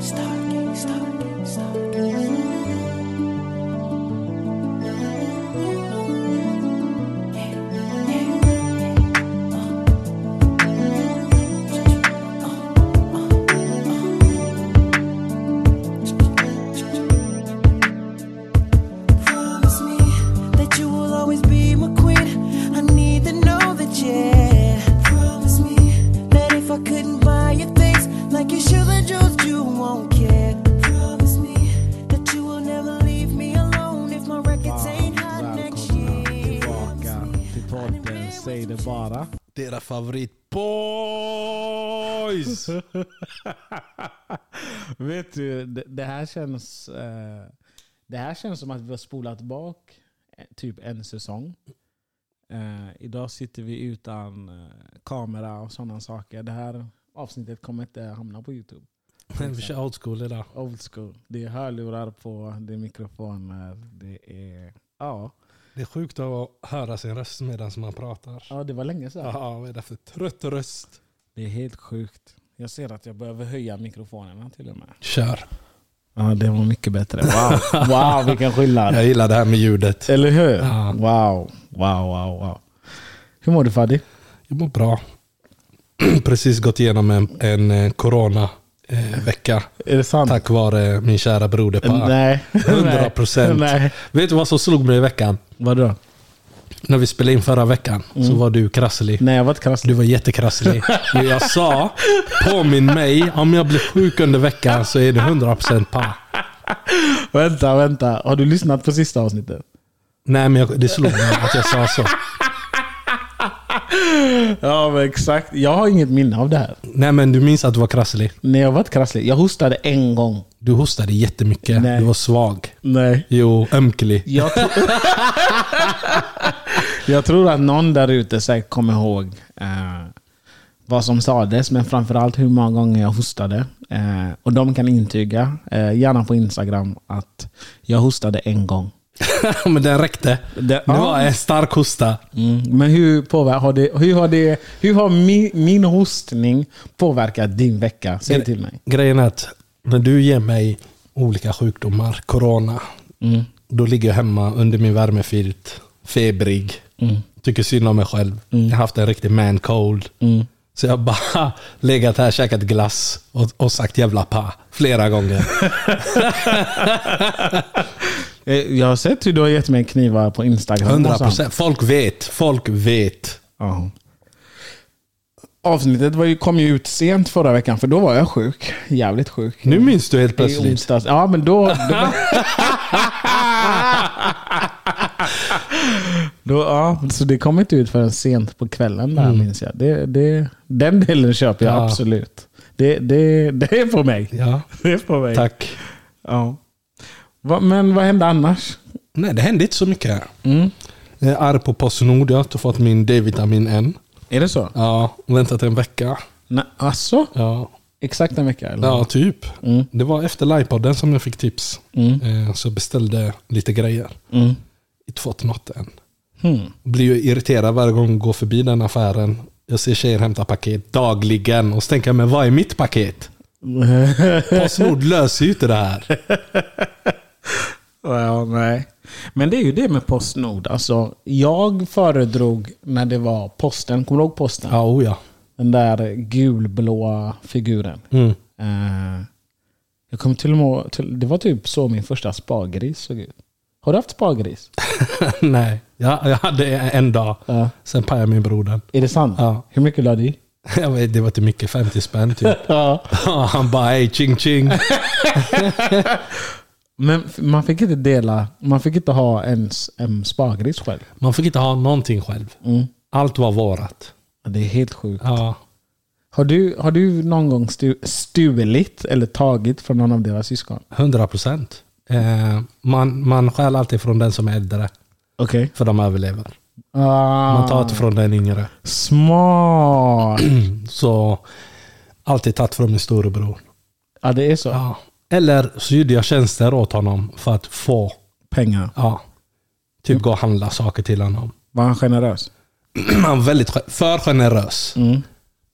Stark, stark, stark. Promise me that you will always be my queen. I need to know that, yeah. Promise me that if I couldn't buy you things like your shoes and jewels, you won't care. Promise me that you will never leave me alone if my records ain't hot next Välkomna year. tillbaka till podden Säg det bara. Era favoritboys! Vet du, det, det, här känns, eh, det här känns som att vi har spolat bak eh, typ en säsong. Eh, idag sitter vi utan eh, kamera och sådana saker. Det här avsnittet kommer inte hamna på Youtube. vi kör old school idag. Old school. Det är hörlurar på, det är mikrofoner, det är... Ja, Det är sjukt att höra sin röst medan man pratar. ja det var länge sedan. Ja, vad är det för trött röst? Det är helt sjukt. Jag ser att jag behöver höja mikrofonerna till och med. Kör. Ja, det var mycket bättre. Wow, wow vilken skillnad. Jag gillar det här med ljudet. Eller hur? Ja. Wow, wow, wow, wow. Hur mår du Fadi? Jag mår bra. Precis gått igenom en, en eh, corona-vecka. Är det sant? Tack vare min kära broder Pa. Nej. 100 procent. Nej. Vet du vad som slog mig i veckan? Vadå? När vi spelade in förra veckan så Mm. var du krasslig. Nej, jag var inte krasslig. Du var jättekrasslig. Men jag sa, påminn mig, om jag blir sjuk under veckan så är det 100% pa. Vänta, vänta. Har du lyssnat på sista avsnittet? Nej, men jag, det slog mig att jag sa så. Ja, men exakt. Jag har inget minne av det här. Nej, men du minns att du var krasslig. Nej, jag var inte krasslig. Jag hostade en gång. Du hostade jättemycket. Nej. Du var svag. Nej. Jo, ömklig. Jag, tro- jag tror att någon där ute säkert kommer ihåg eh, vad som sades, men framförallt hur många gånger jag hostade. Eh, och de kan intyga, eh, gärna på Instagram, att jag hostade en gång. men den räckte. Det- Det var en stark hosta. Mm. Men hur, påver- har det, hur har, det, hur har mi, min hostning påverkat din vecka? Säg till mig. Grejen är att när du ger mig olika sjukdomar, corona, Mm. då ligger jag hemma under min värmefilt, febrig. Mm. Tycker synd om mig själv. Jag har haft en riktig man cold. Mm. Så jag har bara legat här, käkat glass och, och sagt jävla pa flera gånger. Eh, Jag har sett hur du har gett mig knivar på Instagram. och sånt. 100%. Folk vet, folk vet. Ja. Avsnittet var ju, kom ju ut sent förra veckan, för då var jag sjuk. Jävligt sjuk. Nu minns du helt I Mm, plötsligt. onsdags. Ja, men då... Då, då ja, så det kom inte ut förrän sent på kvällen där, minns jag. Det, det, den delen köper jag Mm. Ja. absolut. Det, det, det är på mig. Ja, Det är på mig. tack. Ja. Va, men vad hände annars? Nej, det hände inte så mycket. Mm. Jag är arg på Postnord. Jag har inte fått min D-vitamin än. Är det så? Ja, väntat en vecka. Nej, alltså? Ja, Exakt en vecka? Eller? ja typ. Det var efter livepodden som jag fick tips. Eh, Så beställde lite grejer. Mm. Inte fått något än. Hmm. Blir ju irriterad varje gång jag går förbi den affären. Jag ser tjejer hämta paket dagligen och så tänker jag, men vad är mitt paket? Postnord löser ju inte det här. Ja, nej. Men det är ju det med Postnord. Alltså, jag föredrog när det var posten. Kommer du ihåg posten? Ja, oh ja. Den där gulblåa figuren. Mm. Eh, jag kommer till och med till, Det var typ så min första spargris såg ut. Har du haft spargris? Nej, jag, jag hade en dag. Ja. Sen pajade min bror den. Är det sant? Ja. Hur mycket la du i? Jag vet, Det var inte mycket, 50 spänn typ. Ja. Han bara hej, ching ching. Men f- man fick inte dela, man fick inte ha ens en spargris själv. Man fick inte ha någonting själv. Mm. Allt var vårat. Ja, Det är helt sjukt. Ja. Har du, har du någon gång stu, stulit eller tagit från någon av deras syskon? 100 procent. Eh, man, man stjäl alltid från den som är äldre, Okej. för de överlever. Man Ah, tar inte från den yngre. smart! Så alltid tagit från min storebror. Ja, det är så. Ja. Eller så gjorde jag tjänster åt honom för att få, Pengar. ja, typ gå och handla saker till honom. Var han generös? Mm. Han var väldigt ge- för generös.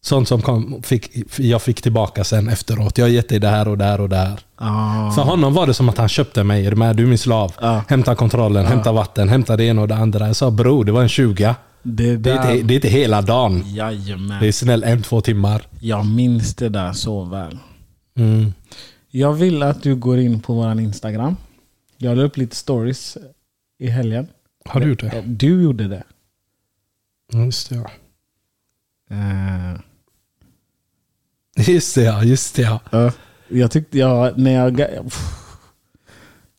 Sånt som kom, fick, jag fick tillbaka sen efteråt. Jag har gett dig det här och det här och det här. Ah. För honom var det som att han köpte mig. Är du med? Du är min slav. Ja. Hämta kontrollen, hämta vatten, hämta det ena och det andra. Jag sa bror, det var en 20. Det Det är, där. inte, det är inte hela dagen. Det Jajamän. är snäll en, två timmar. Jag minns det där så väl. Mm. Jag vill att du går in på våran Instagram. Jag la upp lite stories i helgen. Har du gjort det? Du gjorde det. Just det, ja. Eh, Just det, ja. Just det, ja. ja. jag tyckte jag, när jag... pff,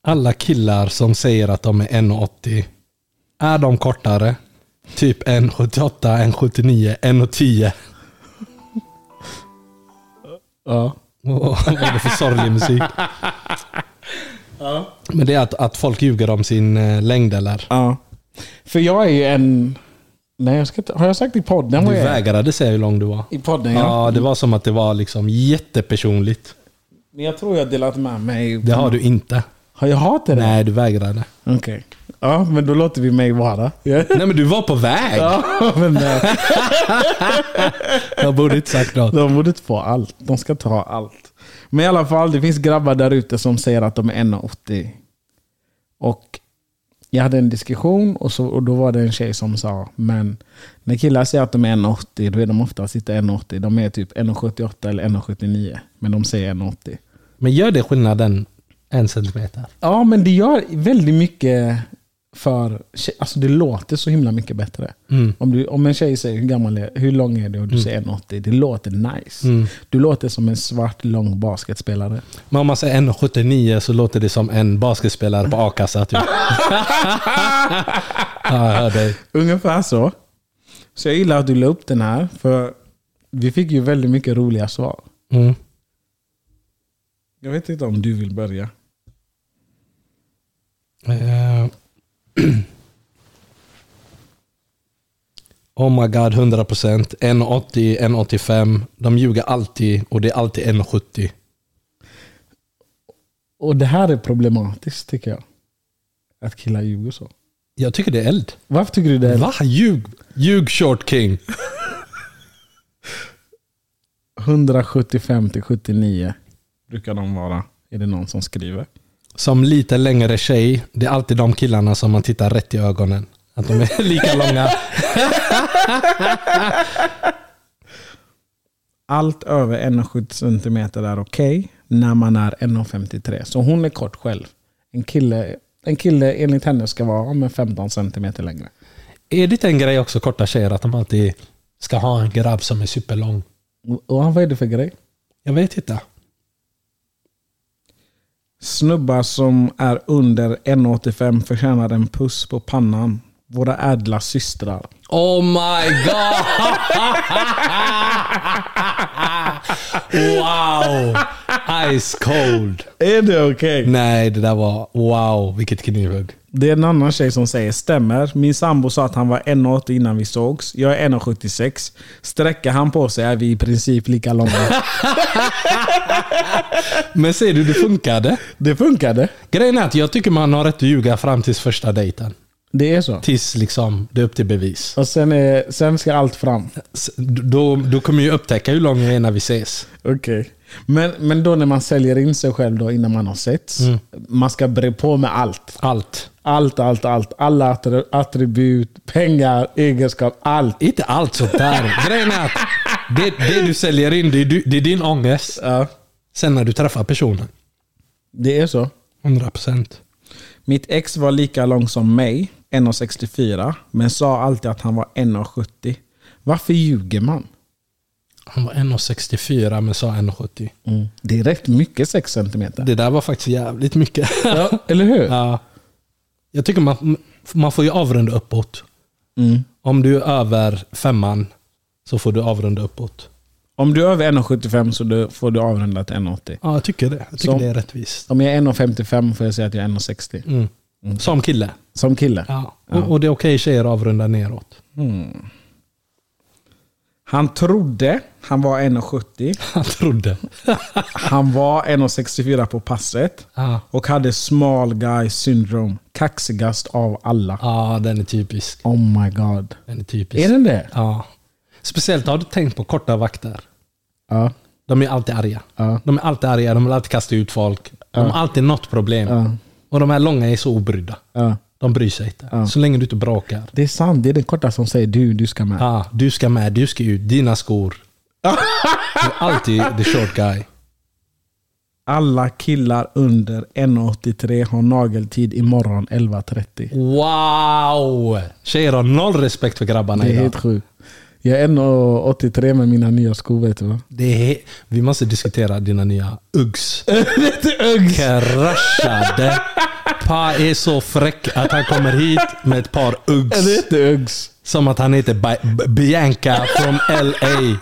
Alla killar som säger att de är 1,80. Är de kortare? Typ 1,78, 1,79, 1,10. Ja. Åh, Vad är det för sorglig musik? Men det är att, att folk ljuger om sin eh, längd eller? ja. För jag är ju en... Nej, jag ska inte, har jag sagt i podden Du vad jag är? vägrade säga hur lång du var. I podden ja. Ja, det var som att det var liksom jättepersonligt. Men jag tror jag har delat med mig. Det har du inte. Har jag hatat det? Nej, du vägrade. Okej. Ja, men då låter vi mig vara. Ja. Nej men du var på väg! Ja, men nej. Jag borde inte sagt något. De borde inte få allt. De ska ta allt. Men i alla fall, det finns grabbar där ute som säger att de är 1,80. Och jag hade en diskussion och, så, och då var det en tjej som sa men när killar säger att de är 1,80 då är de oftast inte 1,80. De är typ 1,78 eller 1,79. Men de säger 1,80. Men gör det skillnaden en centimeter? Ja, men det gör väldigt mycket för... tje- Alltså det låter så himla mycket bättre. Om, du, om en tjej säger hur gammal är, hur lång är du och du säger 1,80. Det låter nice. Du låter som en svart lång basketspelare. Men om man säger 1,79 så låter det som en basketspelare på a-kassa typ. ja, jag hör dig. Ungefär så. Så jag gillar att du la upp den här. För vi fick ju väldigt mycket roliga svar. Mm. Jag vet inte om du vill börja. Eh. Oh my god, 100 procent. 1,80, 1,85. De ljuger alltid och det är alltid 1,70. Och det här är problematiskt tycker jag. Att killar ljuger så. Jag tycker det är eld. Varför tycker du det? är- Va? Ljug, ljug short king. 175 till 79 brukar de vara. Är det någon som skriver? Som lite längre tjej, det är alltid de killarna som man tittar rätt i ögonen. Att de är lika långa. Allt över 1,70 cm är okej när man är 1,53. Så hon är kort själv. En kille, en kille enligt henne ska vara om en 15 cm längre. Är det en grej också, korta tjejer, att de alltid ska ha en grabb som är superlång? Och- Och vad är det för grej? Jag vet inte. Snubbar som är under 1,85 förtjänar en puss på pannan. Våra ädla systrar. Oh my god! wow! Ice cold. Är det okej? Nej, det där var wow, vilket knivhugg. Det är en annan tjej som säger stämmer. Min sambo sa att han var 1,80 innan vi sågs. Jag är 1,76. Sträcker han på sig är vi i princip lika långa. Men ser du, det funkade. Det funkade. Grejen är att jag tycker man har rätt att ljuga fram tills första dejten. Det är så. Tills liksom, det är upp till bevis. Och sen, är, sen ska allt fram. S- Då, då kommer jag upptäcka hur lång jag är när vi ses. Okej. Men, men då när man säljer in sig själv då innan man har setts. Man ska bre på med allt. Allt. Allt, allt, allt. Alla attr- attribut, pengar, egenskap, allt. Inte allt sånt där. Grejen är att det, det du säljer in, det är, du, det är din ångest. Ja, Sen när du träffar personen. det är så. 100 procent. Mitt ex var lika lång som mig, 1,64, men sa alltid att han var 1,70. Varför ljuger man? Han var 1,64 men sa 1,70. Det är rätt mycket 6 centimeter. Det där var faktiskt jävligt mycket. Ja, eller hur? ja. Jag tycker man, man får ju avrunda uppåt. Mm. Om du är över femman så får du avrunda uppåt. Om du är över 1,75 så du- får du avrunda till 1,80. Ja, jag tycker det. Jag tycker Som- det är rättvist. Om jag är 1,55 får jag säga att jag är 1,60. Mm. Som kille. Som kille. Ja. Och, och det är okej tjejer att avrunda neråt. Han trodde han var 1,70. Han trodde. Han var 1,64 på passet. Ja. Och hade small guy syndrome. Kaxigast av alla. Ja, den är typisk. Oh my god. Den är typisk. Är den det? Ja. Speciellt har du tänkt på korta vakter. Ja. De är alltid arga. Ja. De är alltid arga, de vill alltid kasta ut folk. De har alltid något problem. Ja. Och de här långa är så obrydda. Ja. De bryr sig inte. Så länge du inte bråkar. Det är sant, det är den korta som säger du, du ska med. Ah, du ska med, du ska ut, dina skor. Du är alltid the short guy. Alla killar under 1,83 har nageltid imorgon 11.30. Wow! Tjejer har noll respekt för grabbarna Det är idag. helt sjukt. Jag är 1,83 med mina nya skor vet du va? Det är he- Vi måste diskutera dina nya Uggs. Uggs! Kraschade. Pa är så fräck att han kommer hit med ett par Är det Uggs. inte Uggs? Som att han heter Bi- B- Bianca från LA.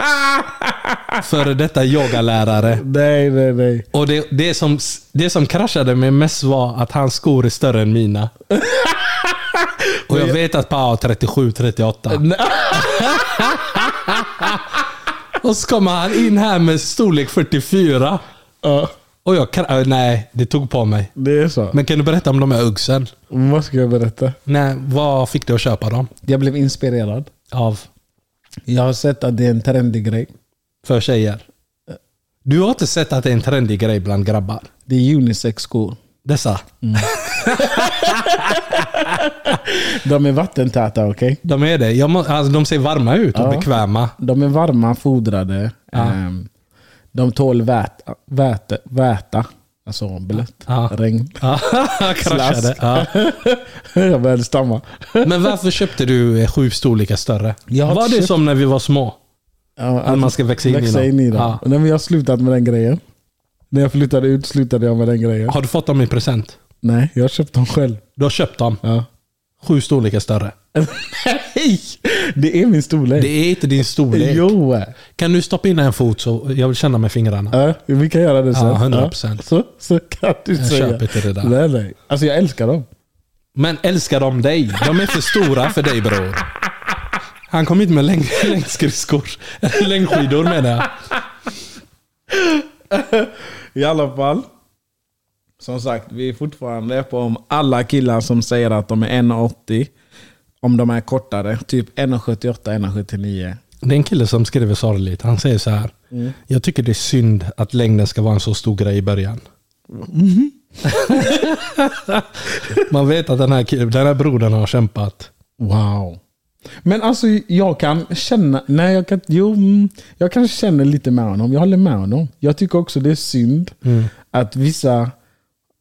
Före detta yogalärare. Nej, nej, nej. Och det, det, som, det som kraschade mig mest var att hans skor är större än mina. Och jag vet att Pao har 37-38. Och så kommer han in här med storlek 44. Ja, Och jag kra- äh, Nej, det tog på mig. det är så. Men kan du berätta om de här uggsen? Vad ska jag berätta? Nej, vad fick du att köpa dem? Jag blev inspirerad. Av? Jag har sett att det är en trendig grej. För tjejer? Du har inte sett att det är en trendig grej bland grabbar? Det är unisex-skor. Dessa? De är vattentäta, okej? De är det. Jag må, alltså, de ser varma ut och Ja. bekväma. De är varma, fodrade. Ehm, de tål väta, väta, väta. alltså blött, Ja. regn. Ja, kraschade. Slask. Ja. jag började stamma. Men varför köpte du eh, sju storlekar större? Jag har var det köpt- som när vi var små? Ja, Att man ska växa in i dem. in i dem. Ja. Nej, men jag har slutat med den grejen. När jag flyttade ut slutade jag med den grejen. Har du fått dem i present? Nej, jag har köpt dem själv. Du har köpt dem? Ja. Sju storlekar större. Nej! Det är min storlek. Det är inte din storlek. Jo! Kan du stoppa in en fot så jag vill känna med fingrarna? Ja, vi kan göra det sen. Ja, 100%. Ja, Så, så kan du Jag säga. köper inte det där. Nej, nej. Alltså jag älskar dem. Men älskar de dig? De är för stora för dig bror. Han kom hit med läng längdskridskor. Längdskidor menar jag. I alla fall. Som sagt, vi är fortfarande på om alla killar som säger att de är 1,80. Om de är kortare. Typ 1,78, 1,79. Det är en kille som skriver sorgligt. Han säger så här. Mm. Jag tycker det är synd att längden ska vara en så stor grej i början. Mm-hmm. Man vet att den här, killen, den här brodern har kämpat. Wow. Men alltså jag kan känna, nej jag kan, jo, mm, jag kan känna lite med honom. Jag håller med honom. Jag tycker också det är synd att vissa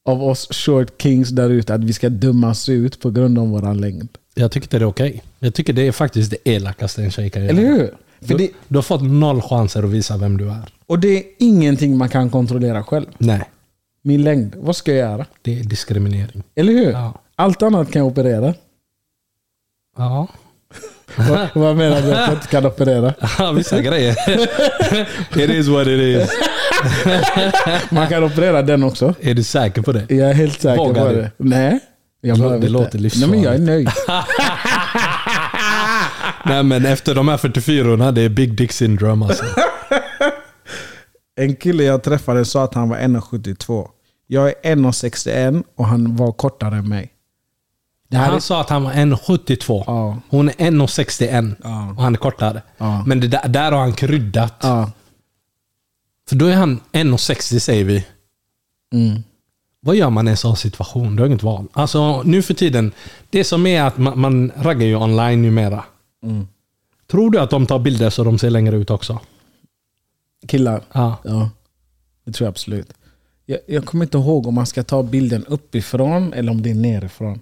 av oss short kings där ute, att vi ska dömas ut på grund av våran längd. Jag tycker inte det är okej. Jag tycker det är faktiskt det elakaste en tjej kan göra. Eller hur? För Du, det, du har fått noll chanser att visa vem du är. och det är ingenting man kan kontrollera själv. Nej. Min längd, vad ska jag göra? Det är diskriminering. Eller hur? Ja. Allt annat kan jag operera. Ja. vad, vad menar du att jag inte kan operera? Vissa grejer. it is what it is. Man kan operera den också. Är du säker på det? Jag är helt säker Vågar på du? det. Nej. Jag Det behöver lå- det inte. låter Nej livsfarligt. men jag är nöjd. Nej men efter de här 44orna, det är big dick syndrome alltså. En kille jag träffade sa att han var 1,72. Jag är 1,61 och han var kortare än mig. Det här Han är... sa att han var 1,72. Ja. Hon är 1,61 Ja. och han är kortare. Ja. Men det där, där har han kryddat. Ja. För då är han 1,60 säger vi. Mm. Vad gör man i en sån situation? Du har inget val. Alltså nu för tiden, det som är att man, man raggar ju online numera. Mm. Tror du att de tar bilder så de ser längre ut också? Killar. Ja. Ja. Det tror jag absolut. Jag, jag kommer inte ihåg om man ska ta bilden uppifrån eller om det är nerifrån.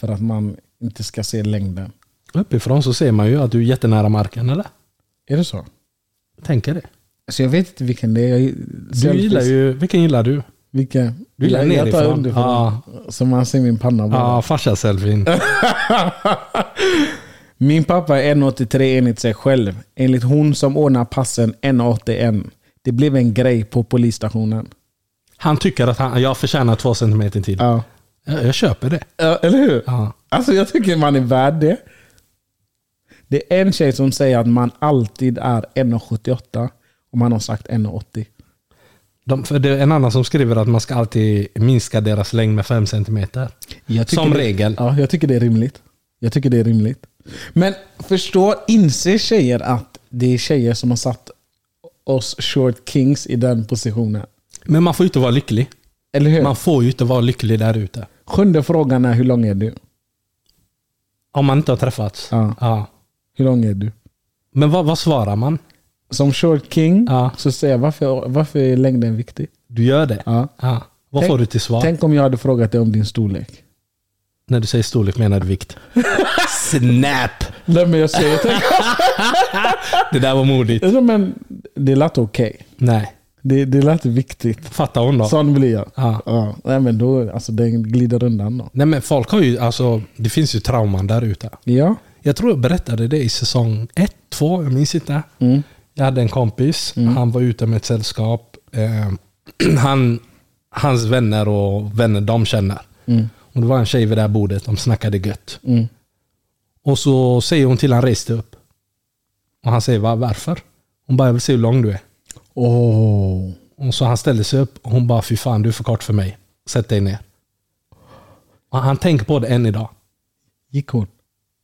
För att man inte ska se längden. Uppifrån så ser man ju att du är jättenära marken, eller? Är det så? Tänker det. Alltså jag vet inte vilken det är. Jag, Du gillar ju, vilken gillar du? Vilken? Du gillar jag, jag tar nerifrån. underifrån. Ja. Så man ser min panna bara. Ja, farsa-selfien. Min pappa är 1,83 enligt sig själv. Enligt hon som ordnar passen 1,81. Det blev en grej på polisstationen. Han tycker att han, jag förtjänar två centimeter till. Ja. Jag, jag köper det. Ja, Eller hur? Ja. Alltså jag tycker man är värd det. Det är en tjej som säger att man alltid är 1,78 och man har sagt 1,80. De, för det är en annan som skriver att man ska alltid minska deras längd med fem centimeter. Jag tycker Som det, regel. Ja, jag tycker det är rimligt. Jag tycker det är rimligt. Men förstår, inser tjejer att det är tjejer som har satt oss short kings i den positionen. Men man får ju inte vara lycklig. Eller hur? Man får ju inte vara lycklig där ute. Sjunde frågan är hur lång är du? Om man inte har träffats. Ja. Hur lång är du? Men vad, vad svarar man? Som short king Ja. så säger jag varför, varför är längden viktig? Du gör det? Ja. Ja. Vad Tänk- får du till svar? Tänk om jag hade frågat dig om din storlek. När du säger storlek menar du vikt. Snap! Nej men jag säger, tänk, Det där var modigt. Nej, men det lät okej. Nej. Det, det lät viktigt. Fattar hon då? Sån blir jag. Ja. Ja. Nej, men då, alltså, den glider undan då. Nej men folk har ju, alltså det finns ju trauman där ute. Ja. Jag tror jag berättade det i säsong ett, två, jag minns inte. Mm. Jag hade en kompis, han var ute med ett sällskap. Eh, han, hans vänner och vänner de känner. Och det var en tjej vid det här bordet, de snackade gött. Mm. Och så säger hon till han reste upp. Och han säger, Va, varför? Hon bara, jag vill se hur lång du är. Åh. Och så han ställde sig upp och hon bara, fy fan du är för kort för mig. Sätt dig ner. Och han tänker på det än idag. Gick hon?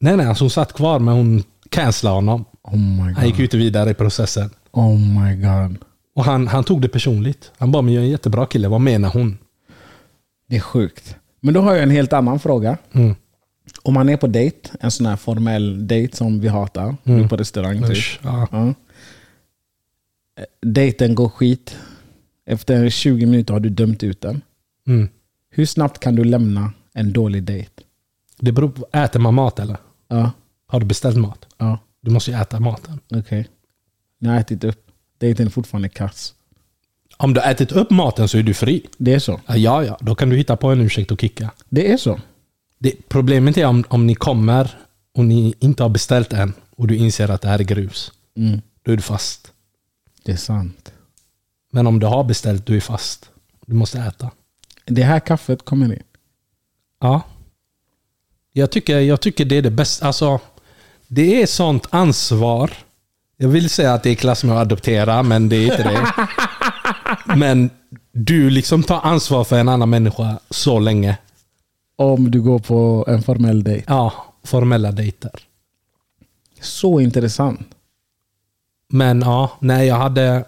Nej, nej, alltså hon satt kvar men hon cancellade honom. Oh my Han gick god. ju inte vidare i processen. Oh my god. Och han, han tog det personligt. Han bara, men jag är en jättebra kille, vad menar hon? Det är sjukt. Men då har jag en helt annan fråga. Mm. Om man är på dejt, en sån här formell dejt som vi hatar, Mm. på restaurang typ. Usch, ja. Ja. Eh, Dejten går skit. Efter 20 minuter har du dömt ut den. Mm. Hur snabbt kan du lämna en dålig dejt? Det beror på, äter man mat eller? Ja, Har du beställt mat? ja. Du måste ju äta maten. Okej. Ni har ätit upp. Dejten är fortfarande kass. Om du har ätit upp maten så är du fri. Det är så. Ja, Ja, ja, då kan du hitta på en ursäkt och kicka. Det är så. Det, problemet är om, om ni kommer och ni inte har beställt än och du inser att det här är grus. Mm. Då är du fast. Det är sant. Men om du har beställt, du är fast. Du måste äta. Det här kaffet kommer in. Ja. Jag tycker, jag tycker det är det bästa. Alltså, det är sånt ansvar. Jag vill säga att det är i klass med att adoptera, men det är inte det. Men du liksom tar ansvar för en annan människa så länge. Om du går på en formell dejt. Ja, formella dejter. Så intressant. Men ja, nej jag hade...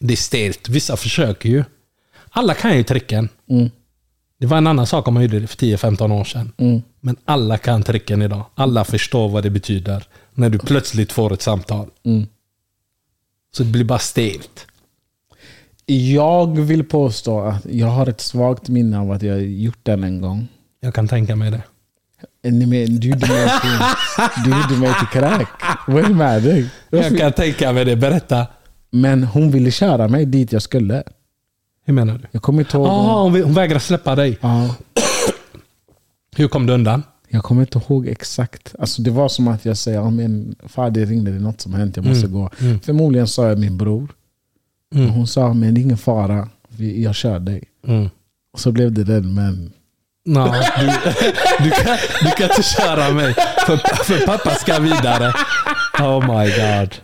Det är stelt. Vissa försöker ju. Alla kan ju tricken. Mm. Det var en annan sak om man gjorde det för 10-15 år sedan. Mm. Men alla kan tricken idag. Alla förstår vad det betyder när du plötsligt får ett samtal. Mm. Så det blir bara stelt. Jag vill påstå att jag har ett svagt minne av att jag gjort den en gång. Jag kan tänka mig det. Nej, men Du gjorde mig till, du gjorde mig till kräk. Vad är det med dig? Jag kan tänka mig det. Berätta. Men hon ville köra mig dit jag skulle. Hur menar du? Jag kommer inte ihåg. Jaha, hon, vä- hon vägrar släppa dig. Ja. Hur kom du undan? Jag kommer inte ihåg exakt. Alltså det var som att jag säger, om en far det ringde, det är något som har hänt, jag måste gå. Förmodligen sa jag min bror. Mm. Och hon sa, men det är ingen fara, Vi- jag kör dig. Mm. Och så blev det den, men... Nå, du, du, kan, du kan inte köra mig. För, för pappa ska vidare. Oh my god.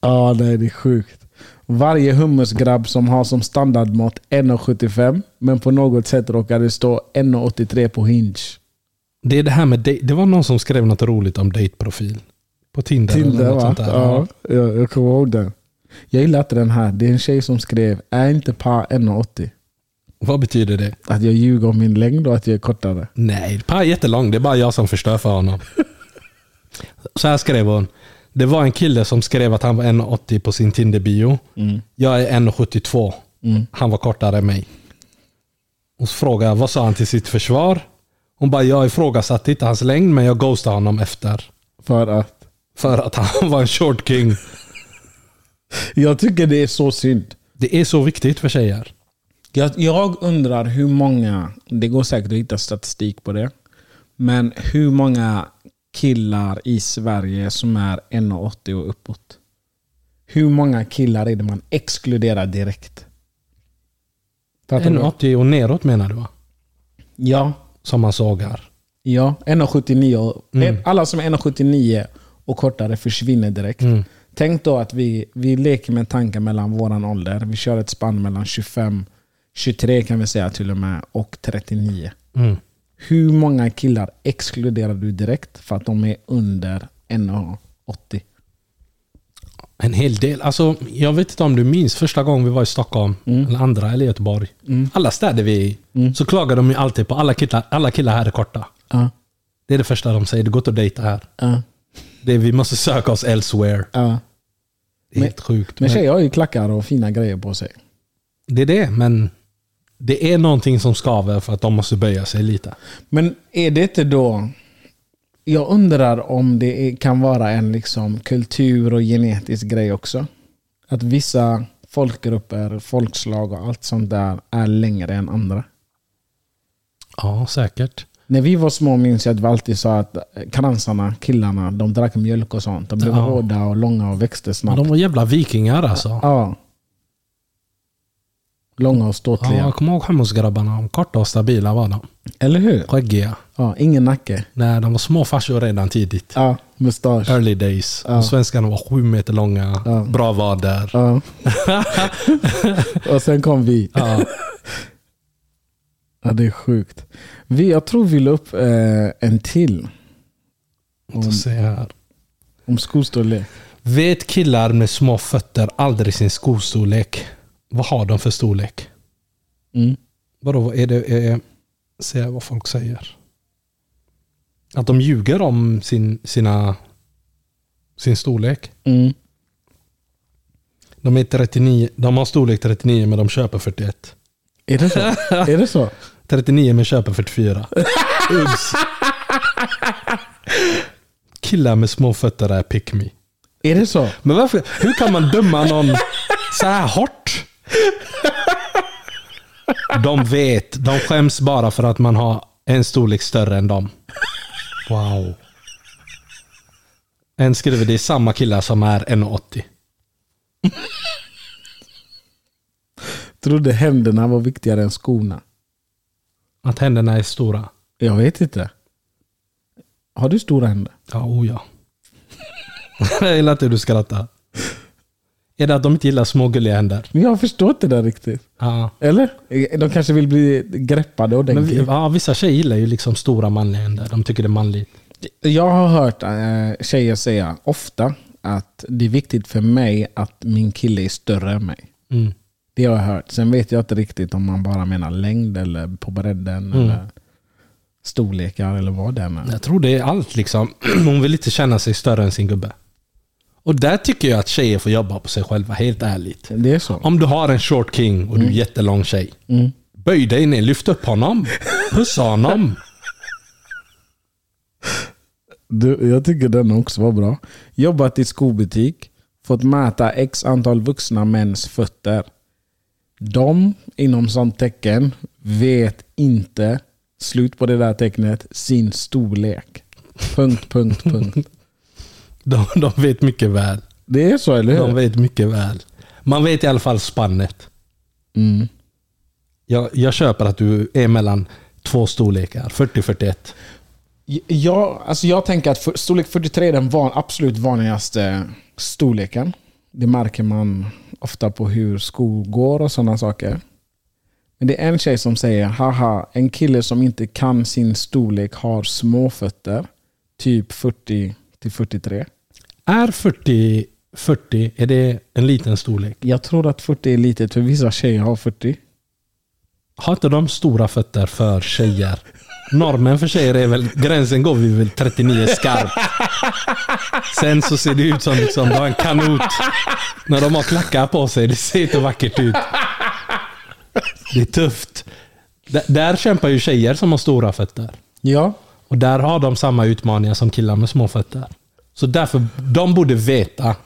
Ja, nej det är sjukt. Varje hummusgrabb som har som standardmått 1,75 men på något sätt råkar det stå 1,83 på Hinge. Det är det här med dej- Det var någon som skrev något roligt om dateprofil. På Tinder, eller Tinder något va? sånt där. Ja, jag, jag kommer ihåg den. Jag gillar inte den här. Det är en tjej som skrev, är inte par 1,80? Vad betyder det? Att jag ljuger om min längd och att jag är kortare. Nej, Pa är jättelång. Det är bara jag som förstör för honom. Så här skrev hon. Det var en kille som skrev att han var 1,80 på sin Tinder-bio. Jag är 1,72. Han var kortare än mig. Och så frågade jag, vad sa han till sitt försvar? Hon bara, jag ifrågasatte inte hans längd, men jag ghostade honom efter. För att För att han var en short king. jag tycker det är så synd. Det är så viktigt för tjejer. Jag, jag undrar hur många, det går säkert att hitta statistik på det, men hur många killar i Sverige som är 1,80 och uppåt? Hur många killar är det man exkluderar direkt? Fattar du? 1,80 och neråt menar du va? Ja, Som man sågar. ja 1,79. och- Alla som är 1,79 och kortare försvinner direkt. Tänk då att vi, vi leker med tanken mellan våran ålder. Vi kör ett spann mellan 25, 23 kan vi säga till och med, och 39. Mm. Hur många killar exkluderar du direkt för att de är under 1,80? En hel del. Alltså, jag vet inte om du minns första gången vi var i Stockholm, Mm. eller andra, eller Göteborg. Alla städer vi är i, så klagar de ju alltid på alla killar, alla killar här är korta. Ja. Det är det första de säger, det går inte att dejta här. Ja. Det är, vi måste söka oss elsewhere. Ja. Det är helt sjukt. Men Men tjejer har ju klackar och fina grejer på sig. det är det, men det är någonting som skaver för att de måste böja sig lite. Men är det inte då... Jag undrar om det är, kan vara en liksom kultur och genetisk grej också. Att vissa folkgrupper, folkslag och allt sånt där är längre än andra. Ja, säkert. När vi var små minns jag att vi alltid sa att kransarna, killarna, de drack mjölk och sånt. De blev Ja. hårda och långa och växte Men snabbt. de var jävla vikingar alltså. Ja. Långa och Ja, ståtliga. jag kommer ihåg Hammusgrabbarna. De Korta och stabila var de. Eller hur? Skäggiga. Ja, ingen nacke. Nej, de var små farsor redan tidigt. Ja, mustasch. Early days. Ja. Och svenskarna var sju meter långa. Bra vader. Ja. och sen kom vi. Ja. Ja, det är sjukt. Vi, jag tror vi la upp eh, en till Så se här. om skostorlek. Vet killar med små fötter aldrig sin skostorlek? Vad har de för storlek? Mm. Vadå, vad är det? Är, se här vad folk säger. Att de ljuger om sin, sina, sin storlek. Mm. De, är 39, de har storlek 39 men de köper 41. Är det så? är det så? 39 men köper 44. Ups. Killar med små fötter är pick me. Är det så? Men varför? Hur kan man döma någon så här hårt? De vet. De skäms bara för att man har en storlek större än dem. Wow. En skriver det är samma killar som är 1,80. Trodde händerna var viktigare än skorna. Att händerna är stora. Jag vet inte. Har du stora händer? Ja, oh ja. Jag gillar att du skrattar. Är det att de inte gillar små gulliga händer? Men jag förstår inte det där riktigt. Ja. Eller? De kanske vill bli greppade Men, ordentligt. vi- ja, vissa tjejer gillar ju liksom stora manliga händer. De tycker det är manligt. Jag har hört eh, tjejer säga ofta att det är viktigt för mig att min kille är större än mig. Mm. Det har jag hört. Sen vet jag inte riktigt om man bara menar längd eller på bredden eller storlekar eller vad det är. Jag tror det är allt liksom. Hon vill inte känna sig större än sin gubbe. Och där tycker jag att tjejer får jobba på sig själva, helt ärligt. Det är så. Om du har en short king och du är jättelång tjej. Böj dig ner, lyft upp honom. Pussa honom. Du, jag tycker den också var bra. Jobbat i skobutik. Fått mäta x antal vuxna mäns fötter. De, inom sånt tecken, vet inte, slut på det där tecknet, sin storlek. Punkt, punkt, punkt. De, de vet mycket väl. Det är så, eller hur? De vet mycket väl. Man vet i alla fall spannet. Mm. Jag, jag köper att du är mellan två storlekar, 40-41. Jag, alltså jag tänker att för, storlek 43 är den van, absolut vanligaste storleken. Det märker man ofta på hur skor går och sådana saker. Men det är en tjej som säger haha, en kille som inte kan sin storlek har små fötter. Typ 40 till 43. Är 40, 40 är det en liten storlek? Jag tror att 40 är litet för vissa tjejer har 40. Har inte de stora fötter för tjejer? Normen för tjejer är väl, gränsen går vid väl 39 skarpt. Sen så ser det ut som liksom, du har en kanot. När de har klackar på sig, det ser inte vackert ut. Det är tufft. D- där kämpar ju tjejer som har stora fötter. Ja. Och där har de samma utmaningar som killar med små fötter. Så därför, de borde veta.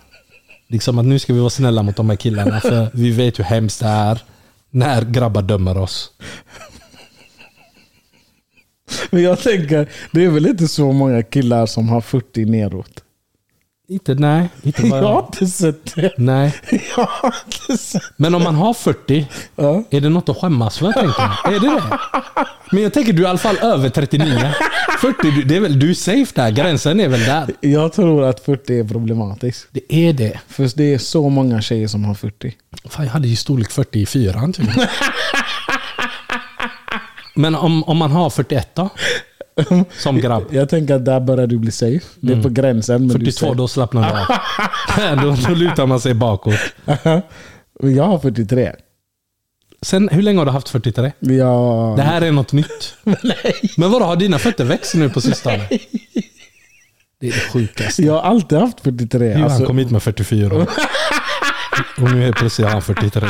Liksom att nu ska vi vara snälla mot de här killarna, för vi vet hur hemskt det är när grabbar dömer oss. Men jag tänker, det är väl inte så många killar som har 40 neråt? Inte, nej. Inte bara, Jag har inte sett det. Nej. Jag har inte sett Men om man har 40, Ja. är det något att skämmas för? Tänker jag. Är det det? Men jag tänker du är i alla fall över 39. 40, du- det är väl, du är safe där. Gränsen är väl där. Jag tror att 40 är problematiskt. Det är det. För det är så många tjejer som har 40. Fan, jag hade ju storlek 40 i fyran typ. Men om, om man har 41 då? Som grabb. Jag tänker att där börjar du bli safe. Det är Mm. på gränsen. Men 42, du då slappnar du av. då, då lutar man sig bakåt. är safe. Men jag har 43. Sen, hur länge har du haft 43? Jag... Det här är något nytt. Men vadå, har dina fötter växt nu på sistone? Det är det sjukaste. Jag har alltid haft 43. Johan Alltså, kom hit med 44 år. Och nu är plötsligt han 43.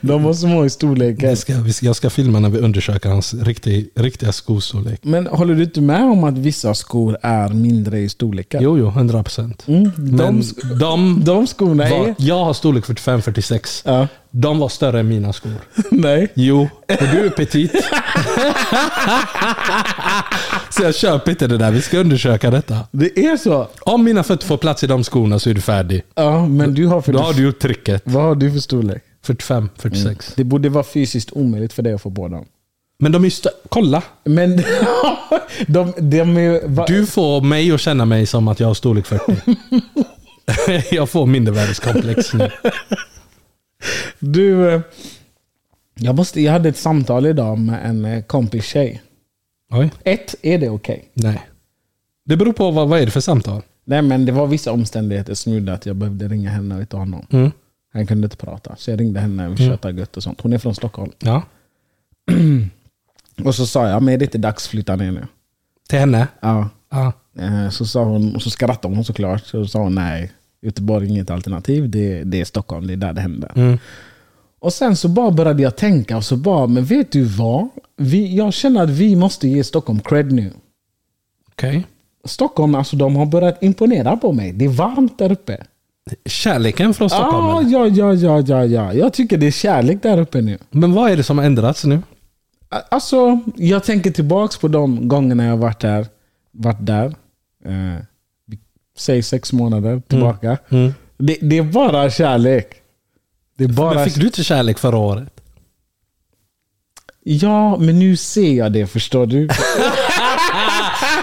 de var små i storleken. Jag ska, vi ska- jag ska filma när vi undersöker hans riktiga, riktiga skostorlek. Men håller du inte med om att vissa skor är mindre i storleken? Jo, jo, 100 procent. Mm, de, Men sk- de de skorna var, är... jag har storlek 45-46. Ja, De var större än mina skor. nej. Jo, och du är petit. så jag köper inte det där. Vi ska undersöka detta. Det är så. Om mina fötter får plats i de skorna så är du färdig. Ja, men du har 40... Då har du gjort tricket. Mm. Vad har du för storlek? 45, 46. Det borde vara fysiskt omöjligt för dig att få på dem. Men de är ju stö- Kolla! Men de, de är ju... va- Du får mig att känna mig som att jag har storlek 40. jag får mindervärdeskomplex nu. Du, eh, jag, måste, jag hade ett samtal idag med en eh, kompis tjej. Oj. Ett, är det okej? Nej. Det beror på vad, vad är det för samtal. Nej men det var vissa omständigheter som gjorde att jag behövde ringa henne och inte honom. Mm. Han kunde inte prata. Så jag ringde henne och vi tjötade gött och sånt. Hon är från Stockholm. Ja. Och så sa jag, men är det inte dags att flytta ner nu? Till henne? Ah, Ja. Ja. Eh, Så sa hon, och så skrattade hon såklart. Så sa hon nej, Göteborg är inget alternativ. Det, det är Stockholm, det är där det händer. Mm. Och sen så bara började jag tänka och så bara, men vet du vad? Vi, jag känner att vi måste ge Stockholm cred nu. Okej. Stockholm, alltså de har börjat imponera på mig. Det är varmt där uppe. Kärleken från Stockholm? Ah, eller? ja, ja, ja, ja, ja. Jag tycker det är kärlek där uppe nu. Men vad är det som har ändrats nu? A- Alltså, jag tänker tillbaks på de gångerna jag varit där. Varit där. Eh, vi- säg sex månader tillbaka. Mm. Det, det är bara kärlek. Det är bara... Men fick du inte kärlek förra året? Ja, men nu ser jag det, förstår du?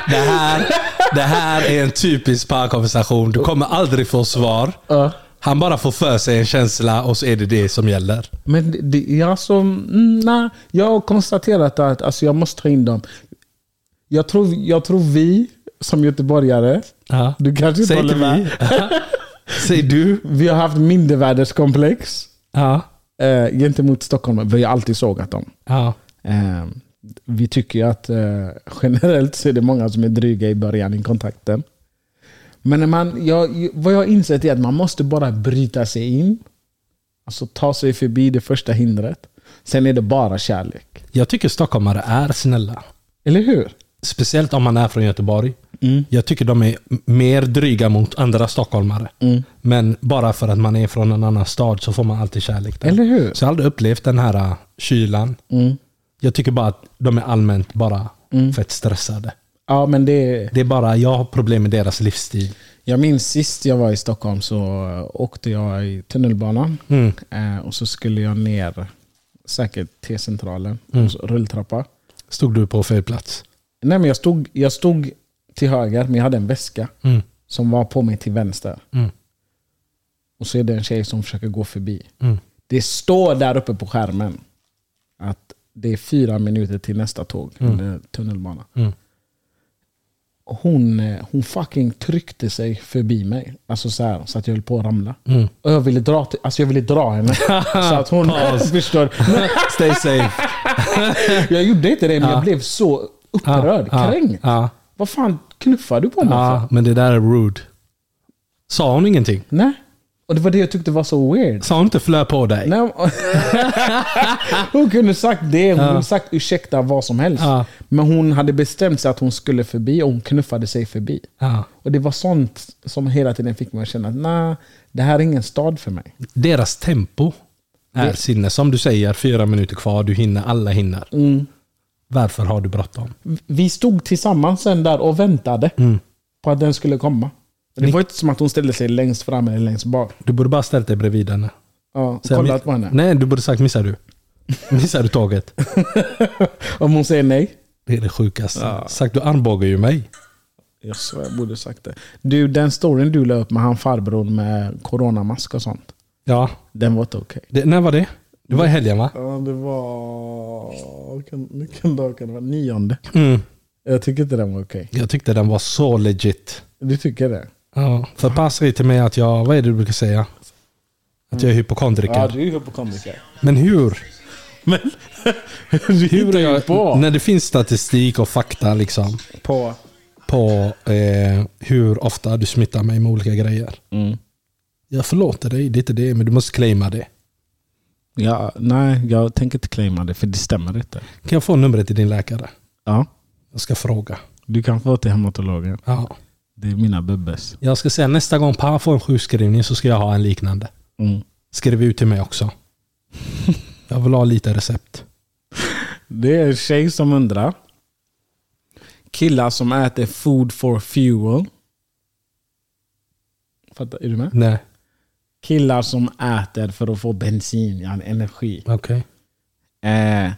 Det här, det här är en typisk parkonversation. Du kommer aldrig få svar. Ja. Han bara får för sig en känsla och så är det det som gäller. Men det- det, jag, som, mm, nej, jag har konstaterat att alltså, jag måste ta in dem. Jag tror, jag tror vi som göteborgare, Ja. du kanske inte Säg håller till med. mig. Säg du. Vi har haft mindervärdeskomplex Ja. eh, gentemot Stockholm. Vi har alltid sågat dem. ja. Eh, vi tycker ju att eh, generellt så är det många som är dryga i början i kontakten. Men när man, jag, vad jag har insett är att man måste bara bryta sig in. Alltså ta sig förbi det första hindret. Sen är det bara kärlek. Jag tycker stockholmare är snälla. Eller hur? Speciellt om man är från Göteborg. Jag tycker de är m- mer dryga mot andra stockholmare. Men bara för att man är från en annan stad så får man alltid kärlek där. Eller hur? Så jag har aldrig upplevt den här äh, kylan. Jag tycker bara att de är allmänt bara fett stressade. Ja, men det, Det är bara, jag har problem med deras livsstil. jag minns sist jag var i Stockholm så åkte jag i tunnelbanan. Mm. Eh, och så skulle jag ner, säkert T-centralen, och så rulltrappa. Stod du på fel plats? Nej, men jag, stod, jag stod till höger, men jag hade en väska Mm. som var på mig till vänster. Mm. Och så är det en tjej som försöker gå förbi. Mm. Det står där uppe på skärmen att det är fyra minuter till nästa tåg, eller tunnelbana. Mm. Och Hon, eh, hon fucking tryckte sig förbi mig. Alltså så, här, så att jag höll på att ramla. Mm. Och jag ville dra, till, alltså jag ville dra henne. så att hon Paus. förstår. Stay safe. Jag gjorde inte det, men jag blev så upprörd, Ja, kränkt. ja, Vad fan knuffar du på mig för? ja, Alltså. men det där är rude. Sa hon ingenting? Nej. Och det var det jag tyckte var så weird. Sa hon inte flö på dig? Nej. hon kunde sagt det, hon kunde sagt ursäkta vad som helst. Ja. Men hon hade bestämt sig att hon skulle förbi och hon knuffade sig förbi. Ja. Och Det var sånt som hela tiden fick mig att känna att nah, det här är ingen stad för mig. Deras tempo är sinne. Som du säger, fyra minuter kvar, du hinner, alla hinner. Mm. Varför har du bråttom? Vi stod tillsammans sen där och väntade Mm. på att den skulle komma. Och Det var inte som att hon ställde sig längst fram eller längst bak. Du borde bara ställt dig bredvid henne. Ja, och Sen- kollat på henne. Nej, du borde sagt missar du. Missar du tåget? Om hon säger nej. Det är det sjukaste. Sagt du armbågar ju mig. Jag svär, jag borde sagt det. Du, den storyn du la upp med han farbrorn med coronamask och sånt. Ja. Den var inte okej. Det, när var det? Det var i helgen va? Ja, det var... vilken- Vilken dag kan det vara? Nionde. Mm. Jag tycker inte den var okej. Jag tyckte den var så legit. Du tycker det? Ja. För Paz säger till mig att jag, vad är det du brukar säga? Att jag är hypokondriker. Ja, du är hypokondriker. Men hur? Men du Hur hittar ju på. När det finns statistik och fakta liksom. på. På eh, hur ofta du smittar mig med olika grejer. Jag förlåter dig, det är inte det. Men du måste claima det. Ja, nej, jag tänker inte claima det för det stämmer inte. Kan jag få numret till din läkare? Ja, Jag ska fråga. du kan få till hematologen. Ja. Det är mina bubbes. Jag ska säga nästa gång Pa får en sjukskrivning så ska jag ha en liknande. Mm. Skriv ut till mig också. Jag vill ha lite recept. Det är en tjej som undrar. Killar som äter food for fuel. Fattar, är du med? Nej, Killar som äter för att få bensin, ja, energi. okej. Eh,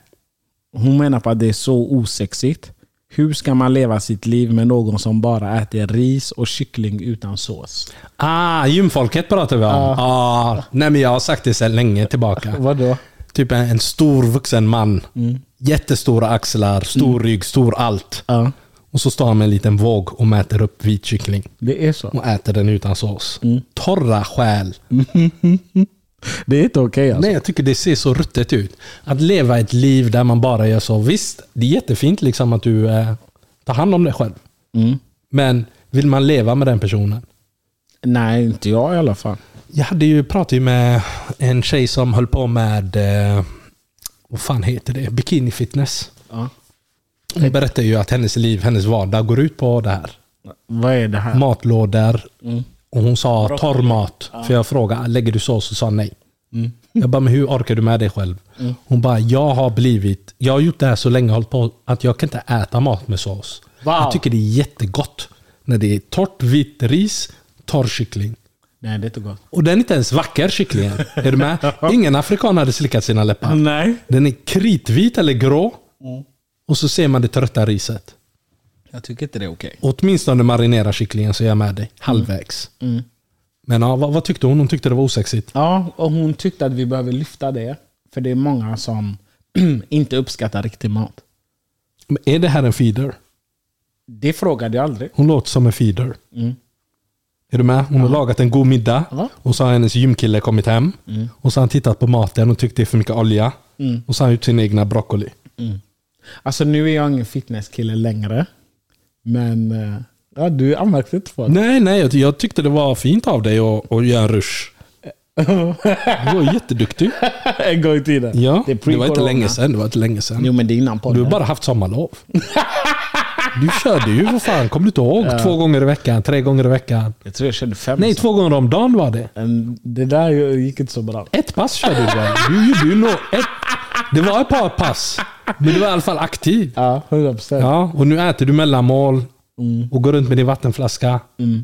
hon menar på att det är så osexigt. Hur ska man leva sitt liv med någon som bara äter ris och kyckling utan sås? Ah, gymfolket pratar vi om. Ah. Nej, men jag har sagt det sedan länge tillbaka. Vadå? Typ en, en stor vuxen man. Jättestora axlar, stor rygg, stor allt. Ja, Och så står han med en liten våg och mäter upp vit kyckling. det är så. Och äter den utan sås. Torra själ. Det är inte okej alltså. Nej, jag tycker det ser så ruttet ut. Att leva ett liv där man bara gör så. Visst, det är jättefint liksom att du eh, tar hand om dig själv. Mm. Men vill man leva med den personen? Nej, inte jag i alla fall. Jag hade ju pratat ju med en tjej som höll på med, eh, vad fan heter det, bikini fitness. Ja. Hon berättade ju att hennes liv, hennes vardag går ut på det här. Vad är det här? Matlådor. Och hon sa torr mat. För jag frågade, lägger du sås? Och sa nej. Jag bara, men hur orkar du med dig själv? Hon bara, jag har blivit, jag har gjort det här så länge, hållit på, att jag kan inte äta mat med sås. Wow. Jag tycker det är jättegott. När det är torrt vitt ris, torr kyckling. Nej, det är inte gott. Och den är inte ens vacker kycklingen. Är du med? Ingen afrikan hade slickat sina läppar. Nej. Den är kritvit eller grå. Och så ser man det trötta riset. Jag tycker inte det är okej. Åtminstone marinera kycklingen så är jag med Mm. dig. Halvvägs. Men ja, vad, vad tyckte hon? Hon tyckte det var osexigt. Ja, och hon tyckte att vi behöver lyfta det. För det är många som inte uppskattar riktig mat. Men är det här en feeder? Det frågade jag aldrig. Hon låter som en feeder. Är du med? Hon har lagat en god middag. Mm. Ja. Mm. Och så har hennes gymkille kommit hem. Och så har han tittat på maten och tyckt det är för mycket olja. Och så har han gjort sin egna broccoli. Alltså nu är jag ingen fitnesskille längre. Men eh, ja, du anmärkte inte på det. Nej, nej. Jag, jag tyckte det var fint av dig att att göra en rush. Du var jätteduktig. en gång i tiden. Ja, det, är det, var inte pre-corona. länge sedan. Det var inte länge sedan. Jo men det är innan Du har podden. bara haft sommarlov. Du körde ju för fan. Kommer du inte ihåg? Två gånger i veckan, tre gånger i veckan. Jag tror jag körde fem. Nej, så. två gånger om dagen var det. Men Det där gick inte så bra. Ett pass körde du väl? Du gjorde ju nå ett. Det var ett par pass. Men du var i alla fall aktiv. Ja, 100%. Ja, och nu äter du mellanmål och går runt med din vattenflaska.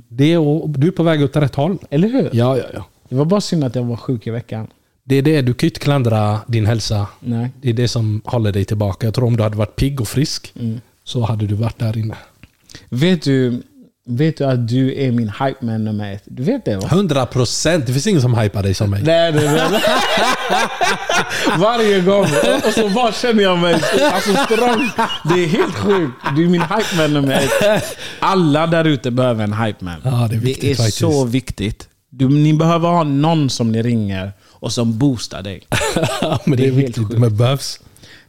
Det och, du är på väg åt rätt håll. Eller hur? Mm. Ja, ja, ja. Det var bara synd att jag var sjuk i veckan. Det är det. Du kan ju inte klandra din hälsa. Nej. Det är det som håller dig tillbaka. Jag tror om du hade varit pigg och frisk så hade du varit där inne. Vet du, vet du att du är min hype man nummer ett? Du vet det va? 100 procent. Det finns ingen som hypar dig som mig. Nej, nej, nej. Varje gång. Och- Och så bara känner jag mig alltså, strong. Det är helt sjukt. Du är min hype man nummer ett. Alla där ute behöver en hype man. Ja, det är viktigt är faktiskt. så viktigt. Du, ni behöver ha någon som ni ringer och som boostar dig. Ja, men Det det är är helt viktigt. sjukt. Men behövs.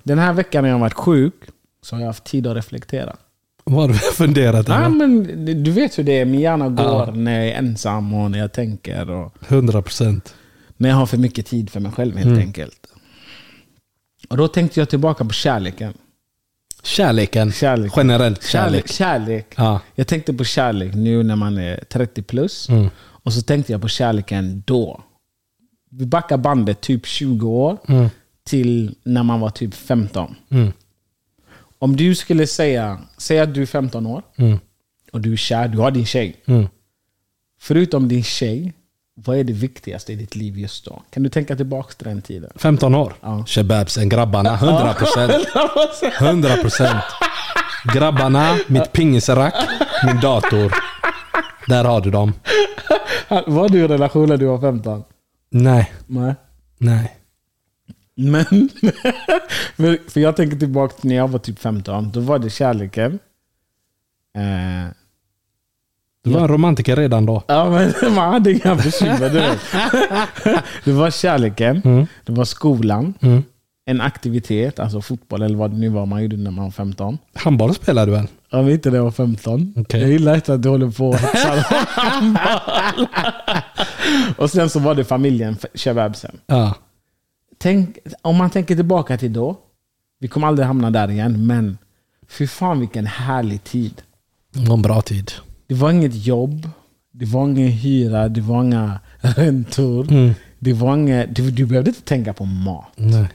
Den här veckan när jag har varit sjuk så har jag haft tid att reflektera. Vad har du funderat Nej, över? men du vet hur det är. Min hjärna går Ja. när jag är ensam och när jag tänker. Och 100 procent. när jag har för mycket tid för mig själv helt Mm. enkelt. Och Då tänkte jag tillbaka på kärleken. Kärleken. Kärlek. Generellt Kärlek. kärlek. kärlek. Ja. Jag tänkte på kärlek nu när man är 30 plus. Mm. Och så tänkte jag på kärleken då. Vi backar bandet typ 20 år till när man var typ 15. Mm. Om du skulle säga, säg att du är 15 år Mm. och du är kär, du har din tjej. Mm. Förutom din tjej, vad är det viktigaste i ditt liv just då? Kan du tänka tillbaka till den tiden? 15 år. Ja. Shebabsen, grabbarna. 100 procent. 100 procent. Grabbarna, mitt pingisrack, min dator. Där har du dem. Var du i relation när du var 15? Nej, Nej. nej. Men, för- för jag tänker tillbaka till när jag var typ 15. Då var det kärleken. Eh, Du var en romantiker redan då. ja, men man hade inga bekymmer. du vet. Det var kärleken. Mm. Det var skolan. Mm. En aktivitet, alltså fotboll eller vad det nu var man gjorde när man var 15. Handboll spelar du väl? Om inte det var 15. Okej. Jag gillar inte att du håller på och hetsar Och sen så var det familjen, shababsen. Ja. Tänk, om man tänker tillbaka till då. Vi kommer aldrig hamna där igen, men fy fan vilken härlig tid. Någon bra tid. Det var inget jobb, det var ingen hyra, det var inga räntor. Det var inget, du, du behövde inte tänka på mat. Nej.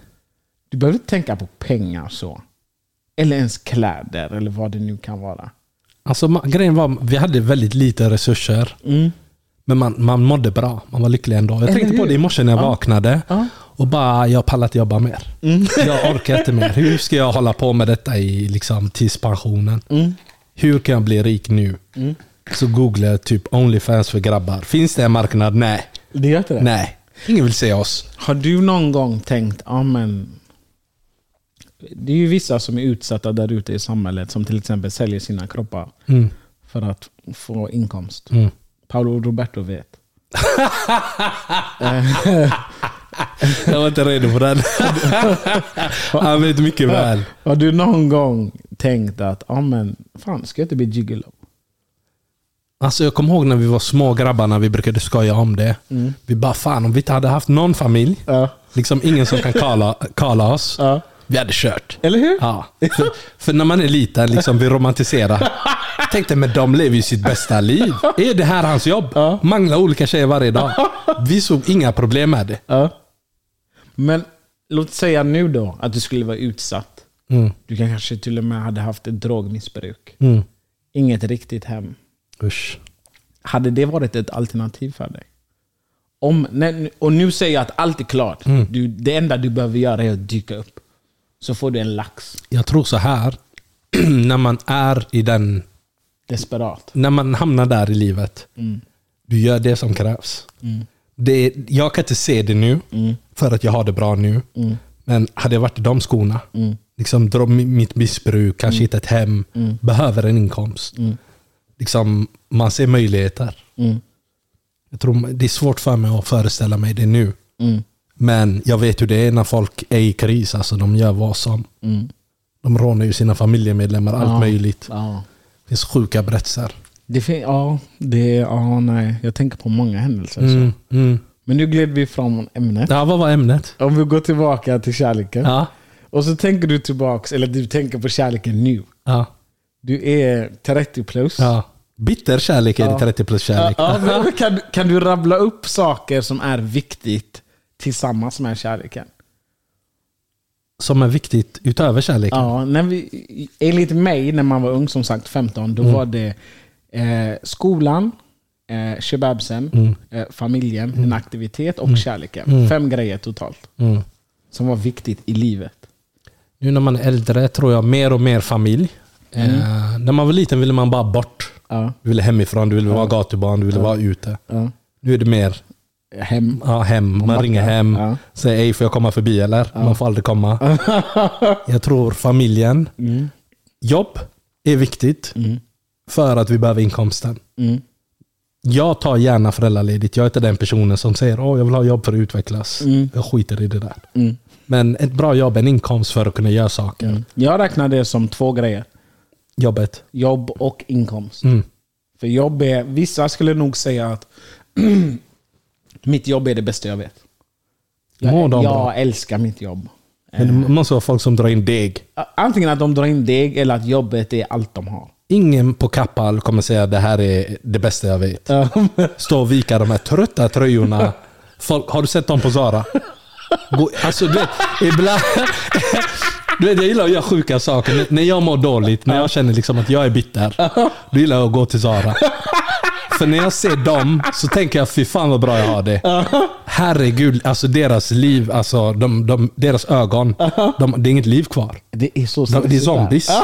Du behöver inte tänka på pengar så. Eller ens kläder eller vad det nu kan vara. Alltså, ma- grejen var, vi hade väldigt lite resurser. Men man, man mådde bra. Man var lycklig ändå. Jag Mm. Eller tänkte på hur? det i morse när jag vaknade. Ja. Mm. Och bara, jag pallar inte jobba mer. Jag orkar inte mer. Hur ska jag hålla på med detta i liksom, tills pensionen? Mm. Hur kan jag bli rik nu? Så googlar jag typ Onlyfans för grabbar. Finns det en marknad? Nej. Det gör inte det? Nej. Ingen vill se oss. Har du någon gång tänkt, ja men... Det är ju vissa som är utsatta där ute i samhället som till exempel säljer sina kroppar för att få inkomst. Mm. Paolo Roberto vet. Jag var inte redo för den. Han vet mycket väl. Har du någon gång tänkt att, ja men fan ska jag inte bli gigolo? Alltså jag kommer ihåg när vi var små grabbarna, vi brukade skoja om det. Vi bara, fan om vi inte hade haft någon familj, Mm. Ja. liksom ingen som kan kala, kala oss, Ja. vi hade kört. Eller hur? Ja. För, för när man är liten, liksom, vi romantiserar. Jag tänkte, men de lever ju sitt bästa liv. Är det här hans jobb? Ja. Mangla olika tjejer varje dag. Vi såg inga problem med det. Ja. Men låt säga nu då att du skulle vara utsatt. Mm. Du kanske till och med hade haft ett drogmissbruk. Mm. Inget riktigt hem. Usch. Hade det varit ett alternativ för dig? Om, när, och nu säger jag att allt är klart. Mm. Du, det enda du behöver göra är att dyka upp. Så får du en lax. Jag tror så här, när man är i den Desperat. när man hamnar där i livet, Mm. du gör det som krävs. Det, är- jag kan inte se det nu, Mm. för att jag har det bra nu. Men hade jag varit i de skorna, Mm. liksom, dra mi- mitt missbruk, kanske hitta ett hem, behöver en inkomst. Mm. Liksom, man ser möjligheter. Jag tror, det är svårt för mig att föreställa mig det nu. Mm. Men jag vet hur det är när folk är i kris. Alltså, de gör vad som. De rånar ju sina familjemedlemmar, allt Mm. Ja. möjligt. Ja. Det finns sjuka berättelser. Det, fin- ja, det, ja, nej. Jag tänker på många händelser. Så. Mm, mm. Men nu gled vi från ämnet. Ja, vad var ämnet? Om vi går tillbaka till kärleken. Ja. Och så tänker du tillbaks, eller du tänker på kärleken nu. ja. Du är 30 plus. ja. Bitter kärlek är det 30 plus Ja, kärlek. ja, men kan, du- kan du rabbla upp saker som är viktigt tillsammans med kärleken? Som är viktigt utöver kärleken. Ja, när vi, enligt mig, när man var ung, som sagt 15, Mm. då var det eh, skolan, eh, kebabsen, Mm. eh, familjen, en aktivitet och kärleken. Fem grejer totalt. Mm. Som var viktigt i livet. Nu när man är äldre tror jag mer och mer familj. Eh, när man var liten ville man bara bort. Ja, Du ville hemifrån, du ville vara gatubarn, du ville vara ute. ja. Nu är det mer Eh, Hem. ja, hem. Man ringer hem, Ja. säger ej får jag komma förbi eller? Man får aldrig komma. jag tror familjen, Mm. jobb är viktigt för att vi behöver inkomsten. Mm. Jag tar gärna föräldraledigt. Jag är inte den personen som säger åh jag vill ha jobb för att utvecklas. Jag skiter i det där. Mm. Men ett bra jobb, en inkomst för att kunna göra saker. Jag räknar det som två grejer. Jobbet. Jobb och inkomst. Mm. För jobb är, vissa skulle nog säga att mitt jobb är det bästa jag vet. Mår Jag, de bra? jag älskar mitt jobb. Men det måste vara folk som drar in deg. Antingen att de drar in deg eller att jobbet är allt de har. Ingen på Kappahl kommer säga det här är det bästa jag vet. Stå och vika de här trötta tröjorna. Folk, har du sett dem på Zara? Gå, alltså du vet, ibland... Du vet, jag gillar att göra sjuka saker. N- När jag mår dåligt, när jag känner liksom att jag är bitter, då gillar jag att gå till Zara. För när jag ser dem så tänker jag, fy fan vad bra jag har det. Herregud, alltså deras liv, alltså de, de, deras ögon. De, det är inget liv kvar. Det är så De, det är stressigt zombies. där.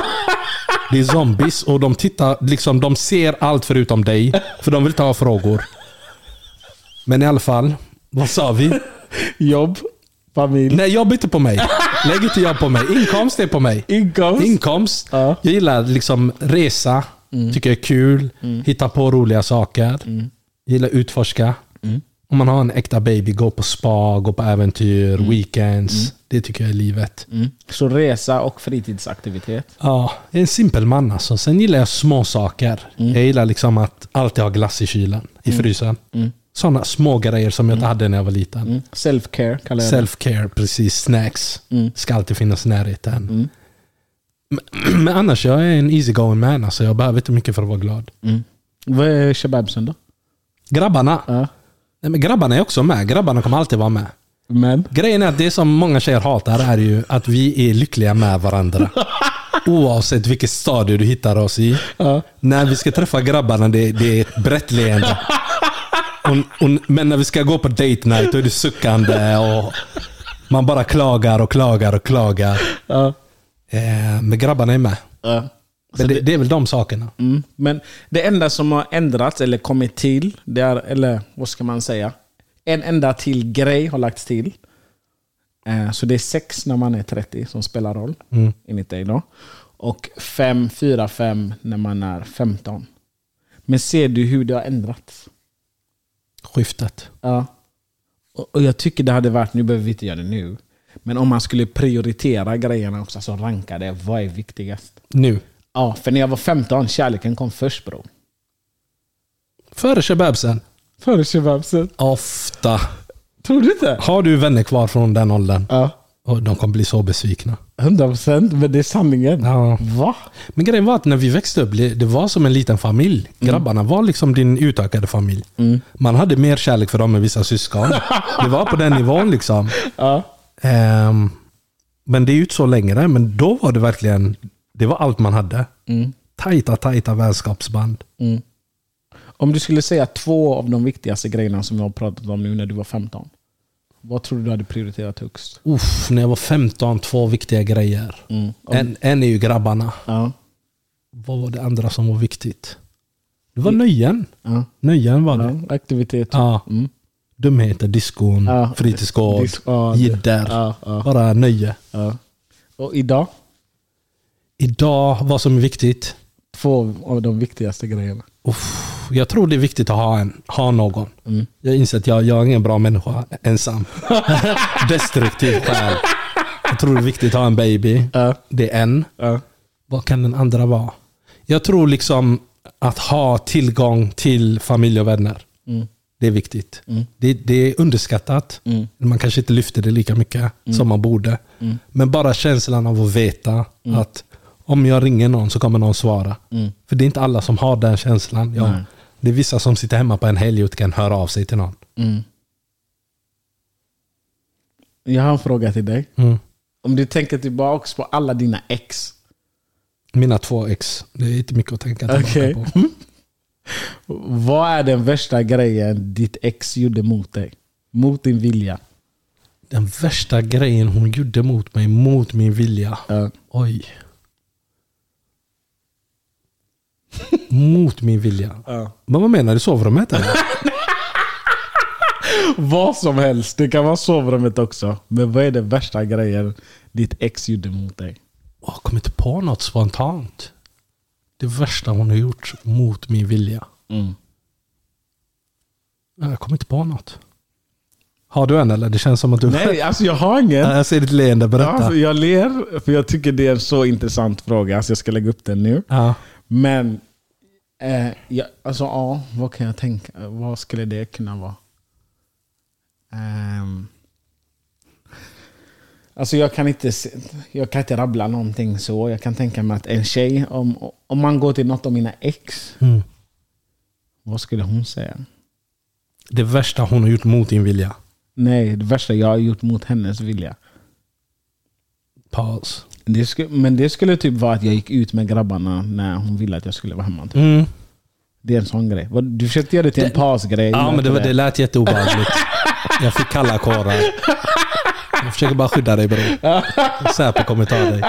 Det är zombies och de tittar, liksom, de ser allt förutom dig. För de vill ta frågor. Men i alla fall, vad sa vi? Jobb, Familj. Nej, jobb inte på mig. Lägg inte jobb på mig. Inkomst är på mig. Inkomst. Inkomst. Ja. Mm. Jag gillar liksom resa. Tycker jag är kul. Hitta på roliga saker. Gillar utforska. Mm. Om man har en äkta baby, gå på spa, gå på äventyr, weekends. Det tycker jag är livet. Mm. Så resa och fritidsaktivitet. Ja, jag är en simpel man alltså. Sen gillar jag små saker. Mm. Jag gillar liksom att alltid ha glass i kylen, i frysen. Sådana små grejer som jag inte hade när jag var liten. Mm. Self-care kallar jag det. Self-care, precis. Snacks Mm. ska alltid finnas i närheten. Men, men annars, jag är en easygoing man. Alltså, jag behöver inte mycket för att vara glad. Mm. Vad är kebabsen då? Grabbarna. Ja. Nej, men grabbarna är också med. Grabbarna kommer alltid vara med. Men? Grejen är att det som många tjejer hatar är ju att vi är lyckliga med varandra. Oavsett vilket stadie du hittar oss i. Ja. När vi ska träffa grabbarna, det, det är ett brett leende. Och, och, men när vi ska gå på date night, då är det suckande och man bara klagar och klagar och klagar. Ja. Eh, men grabbarna är med. Ja. Men det, det är väl de sakerna. Mm. Men det enda som har ändrats eller kommit till, det är, eller vad ska man säga? En enda till grej har lagts till. Eh, Så det är sex när man är 30 som spelar roll, enligt dig då. Och fem, fyra, fem när man är 15. Men ser du hur det har ändrats? Skiftet. Ja. Och och jag tycker det hade varit, nu behöver vi inte göra det nu, men om man skulle prioritera grejerna också, så ranka det. Vad är viktigast? Nu. Ja, för när jag var 15, kärleken kom först bro. Före kebabsen. Före kebabsen. Ofta. Tror du inte? Har du vänner kvar från den åldern? Ja. Och de kommer bli så besvikna. 100 procent, men det är sanningen. Ja. Va? Men grejen var att när vi växte upp, det det var som en liten familj. Mm. Grabbarna var liksom din utökade familj. Man hade mer kärlek för dem än vissa syskon. Det var på den nivån liksom. Ja. Ehm, men det är ju inte så längre. Men då var det verkligen, det var allt man hade. Mm. Tajta, tajta vänskapsband. Om du skulle säga två av de viktigaste grejerna som vi har pratat om nu när du var 15. Vad tror du du hade prioriterat högst? Uff, när jag var 15, två viktiga grejer. Mm. En, en är ju grabbarna. Ja. Vad var det andra som var viktigt? Det var nöjen. Ja. Nöjen var det. ja. Aktivitet. Ja. Mm. Dumheter, diskon, Ja. fritidsgård, Diskgård. jidder. Ja, ja. Bara nöje. Ja. Och idag? Idag, vad som är viktigt? Två av de viktigaste grejerna. Uff, jag tror det är viktigt att ha, en, ha någon. Mm. Jag inser att jag, jag är ingen bra människa ensam. Destruktiv själ. Jag tror det är viktigt att ha en baby. Ja. Det är en. Ja. Vad kan den andra vara? Jag tror liksom att ha tillgång till familj och vänner. Mm. Det är viktigt. Det, det är underskattat. Man kanske inte lyfter det lika mycket Mm. som man borde. Men bara känslan av att veta Mm. att om jag ringer någon så kommer någon svara. För det är inte alla som har den känslan. Ja, det är vissa som sitter hemma på en helg och inte kan höra av sig till någon. Mm. Jag har en fråga till dig. Mm. Om du tänker tillbaka på alla dina ex. Mina två ex, det är inte mycket att tänka tillbaka Okej. på. Vad är den värsta grejen ditt ex gjorde mot dig? Mot din vilja? Den värsta grejen hon gjorde mot mig, mot min vilja. Ja. Oj. Mot min vilja. Ja. Men vad menar du? Sovrummet eller? Vad som helst. Det kan vara sovrummet också. Men vad är den värsta grejen ditt ex gjorde mot dig? Jag kom inte på något spontant. Det värsta hon har gjort mot min vilja. Mm. Nej, Jag kommer inte på något. Har du en eller? Det känns som att du... Nej, alltså jag har ingen. Jag ser ditt leende, berätta. Alltså, jag ler, för jag tycker det är en så intressant fråga. Alltså, jag ska lägga upp den nu. ja. Men, eh, ja, alltså ja, vad kan jag tänka? Vad skulle det kunna vara? Ehm, alltså jag kan, inte, se- jag kan inte rabbla någonting så. Jag kan tänka mig att en tjej, om, om man går till något av mina ex, Mm. vad skulle hon säga? Det värsta hon har gjort mot din vilja. Nej, det värsta jag har gjort mot hennes vilja. Paus. Det skulle, men det skulle typ vara att jag gick ut med grabbarna när hon ville att jag skulle vara hemma. Typ. Mm. Det är en sån grej. Vad- Du försökte göra det till en pausgrej. Ja, men det, var- det lät jätteobehagligt. Jag fick kalla kårar. Jag försöker bara skydda dig bror. Säpo kommer ta dig.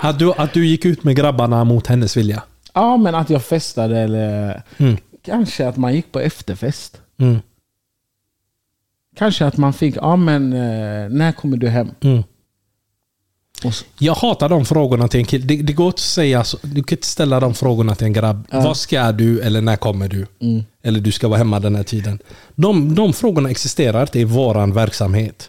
Att du, att du gick ut med grabbarna mot hennes vilja. Ja, men att jag festade eller Mm. kanske att man gick på efterfest. Mm. Kanske att man fick, ja men eh, när kommer du hem? Mm. Och så, Jag hatar de frågorna till en kille. Det, det går inte att säga så. Du kan inte ställa de frågorna till en grabb. Vad ska du eller när kommer du? Mm. Eller du ska vara hemma den här tiden. De, de frågorna existerar inte i våran verksamhet.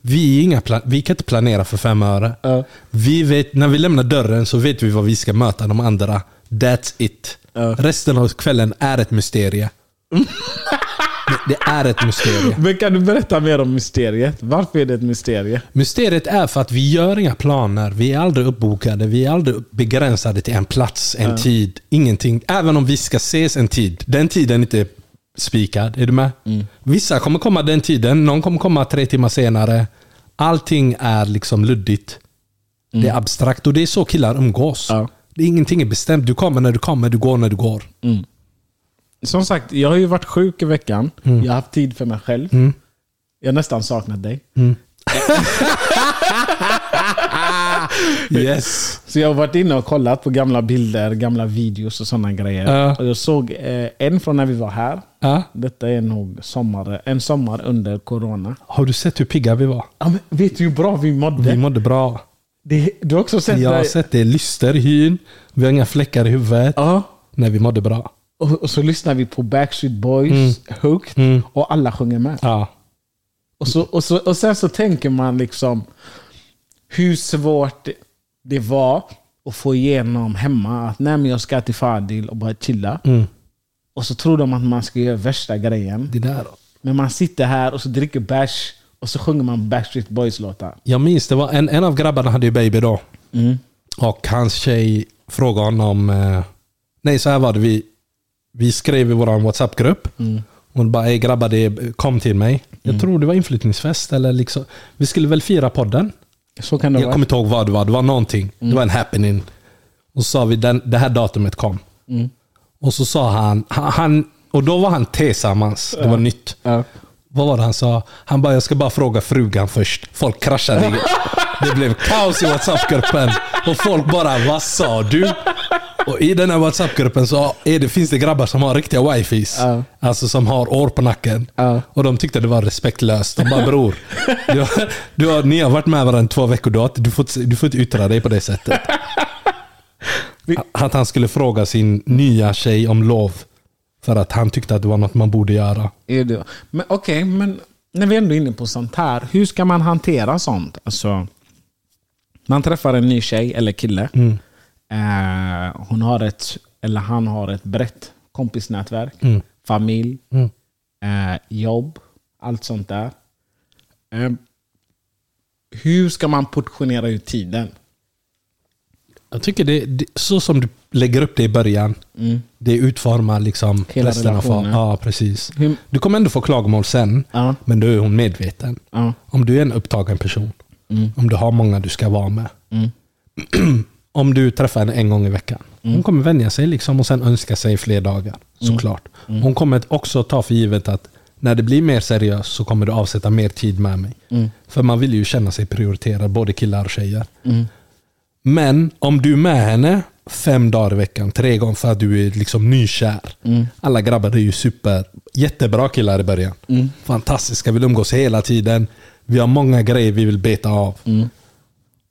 Vi, är inga pla- vi kan inte planera för fem öre. Mm. Ja. Vi vet, när vi lämnar dörren så vet vi vad vi ska möta de andra. That's it. Ja. Resten av kvällen är ett mysterie. Det- det är ett mysterie. men kan du berätta mer om mysteriet? Varför är det ett mysterie? Mysteriet är för att vi gör inga planer. Vi är aldrig uppbokade. Vi är aldrig begränsade till en plats, en tid, ingenting. Även om vi ska ses en tid. Den tiden är inte spikad. Är du med? Mm. Vissa kommer komma den tiden. Någon kommer komma tre timmar senare. Allting är liksom luddigt. Det är abstrakt och det är så killar umgås. Mm. Ja. Det är ingenting är bestämt. Du kommer när du kommer, du går när du går. Som sagt, jag har ju varit sjuk i veckan. Jag har haft tid för mig själv. Jag har nästan saknat dig. Mm. Yes. Så jag har varit inne och kollat på gamla bilder, gamla videos och sådana grejer. Ja. Och jag såg eh, en från när vi var här. Ja. Detta är nog sommar, en sommar under corona. Har du sett hur pigga vi var? Ja, men vet du hur bra vi mådde? Vi mådde bra. Mm. Det, du har också sett Jag har det? sett det är lyster i hyn. Vi har inga fläckar i huvudet. Ja. När vi mådde bra. Och, och så lyssnar vi på Backstreet Boys, Hooked, och alla sjunger med. Ja. Och, så, och, så, och sen så tänker man liksom hur svårt det- det var att få igenom hemma att nej men jag ska till Fadil och bara chilla. Och så tror de att man ska göra värsta grejen. Det där. Men man sitter här och så dricker bärs och så sjunger man Backstreet Boys låtar. Jag minns, det var en, en av grabbarna hade ju baby då. Mm. Och hans tjej frågade honom... Eh, nej, så här var det. Vi, vi skrev i vår WhatsApp-grupp. Mm. Hon bara, "Ey grabbar, det är, kom till mig. Jag tror det var inflyttningsfest. Eller liksom, vi skulle väl fira podden. Så kan det Jag vara. kommer inte ihåg vad det var. Det var någonting. Mm. Det var en happening. Och så sa vi den, det här datumet kom. Mm. Och så sa han, han- han, och då var han tillsammans. Det var nytt. Ja. Vad var det han sa? Han bara, jag ska bara fråga frugan först. Folk kraschade. i- Det blev kaos i WhatsApp-gruppen. Och folk bara, vad sa du? Och i den här WhatsApp-gruppen så är det, finns det grabbar som har riktiga wifis. Ja. Alltså som har år på nacken. Ja. Och de tyckte det var respektlöst. De bara, bror. Du har, du har, ni har varit med varandra i två veckor. Du, har, inte- du, får, inte- du får inte yttra dig på det sättet. Att han skulle fråga sin nya tjej om lov. För att han tyckte att det var något man borde göra. Är det. Men okej, men när vi ändå är inne på sånt här. Hur ska man hantera sånt? Alltså, man träffar en ny tjej eller kille. Mm. Eh, hon har ett, eller han har ett brett kompisnätverk. Mm. Familj, eh, jobb, allt sånt där. Eh, hur ska man portionera ut tiden? Jag tycker det, det så som du lägger upp det i början, det utformar liksom Mm. Hela resten av relationen. Ja, precis. Hur- Du kommer ändå få klagomål sen, Ja. men då är hon medveten. Ja. Mm. Om du är en upptagen person, om du har många du ska vara med. om du träffar henne en gång i veckan. Mm. Hon kommer vänja sig liksom och sen önska sig fler dagar. Såklart. Mm. Hon kommer också ta för givet att när det blir mer seriöst så kommer du avsätta mer tid med mig. Mm. För man vill ju känna sig prioriterad, både killar och tjejer. Mm. Men om du är med henne fem dagar i veckan, tre gånger för att du är liksom nykär. Alla grabbar är ju super, jättebra killar i början. Fantastiska, vill umgås hela tiden. Vi har många grejer vi vill beta av.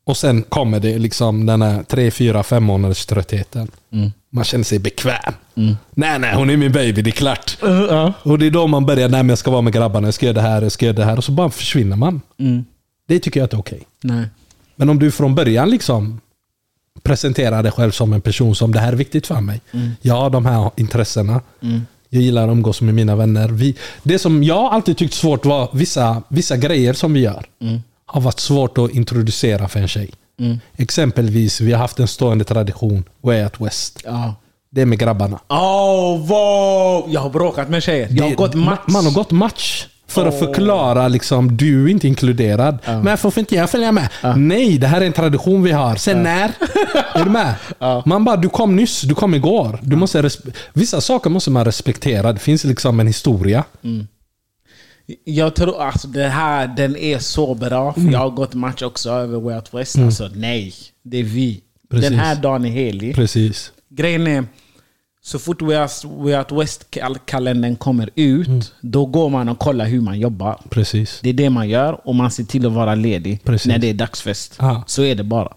Och sen kommer det liksom den här tre, fyra, fem månaders tröttheten. Man känner sig bekväm. Nej, nej, hon är min baby, det är klart. Och det är då man börjar, nej men jag ska vara med grabbarna, jag ska göra det här, jag ska göra det här. Och så bara försvinner man. Det tycker jag inte är okej. Nej. Men om du från början liksom presenterar dig själv som en person som det här är viktigt för mig. Jag har de här intressena. Jag gillar att umgås med mina vänner. Vi, det som jag alltid tyckt svårt var vissa, vissa grejer som vi gör. Har varit svårt att introducera för en tjej. Exempelvis, vi har haft en stående tradition, Way Out West. Ja. Det är med grabbarna. Oh, wow. Jag har bråkat med tjejer. Jag har Det- gått match. Man har gått match. För att Åh. förklara liksom, du är inte inkluderad. Men får inte jag följa med? Nej, det här är en tradition vi har. Sen när? Är du med? Man bara, du kom nyss, du kom igår. Du måste respe- Vissa saker måste man respektera. Det finns liksom en historia. Mm. Jag tror alltså det här den är så bra. Mm. För Jag har gått match också över Way Out West. Alltså nej, det är vi. Precis. Den här dagen är helig. Precis. Grejen är, Så fort Way Out- Way Out West-kalendern kommer ut, Mm. då går man och kollar hur man jobbar. Precis. Det är det man gör och man ser till att vara ledig Precis. när det är dagsfest. Ja. Så är det bara.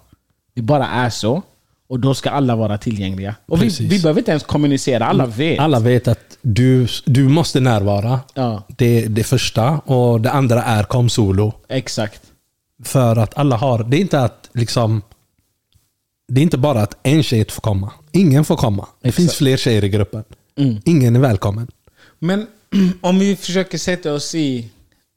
Det bara är så. Och då ska alla vara tillgängliga. Och vi, Precis. Mm. vi behöver inte ens kommunicera, alla vet. Alla vet att du, du måste närvara. Ja. Det är det första. Och det andra är kom solo. Exakt. För att alla har... Det är inte att liksom... Det är inte bara att en tjej inte får komma. Ingen får komma. Det Exakt. finns fler tjejer i gruppen. Ingen är välkommen. Men om vi försöker sätta oss i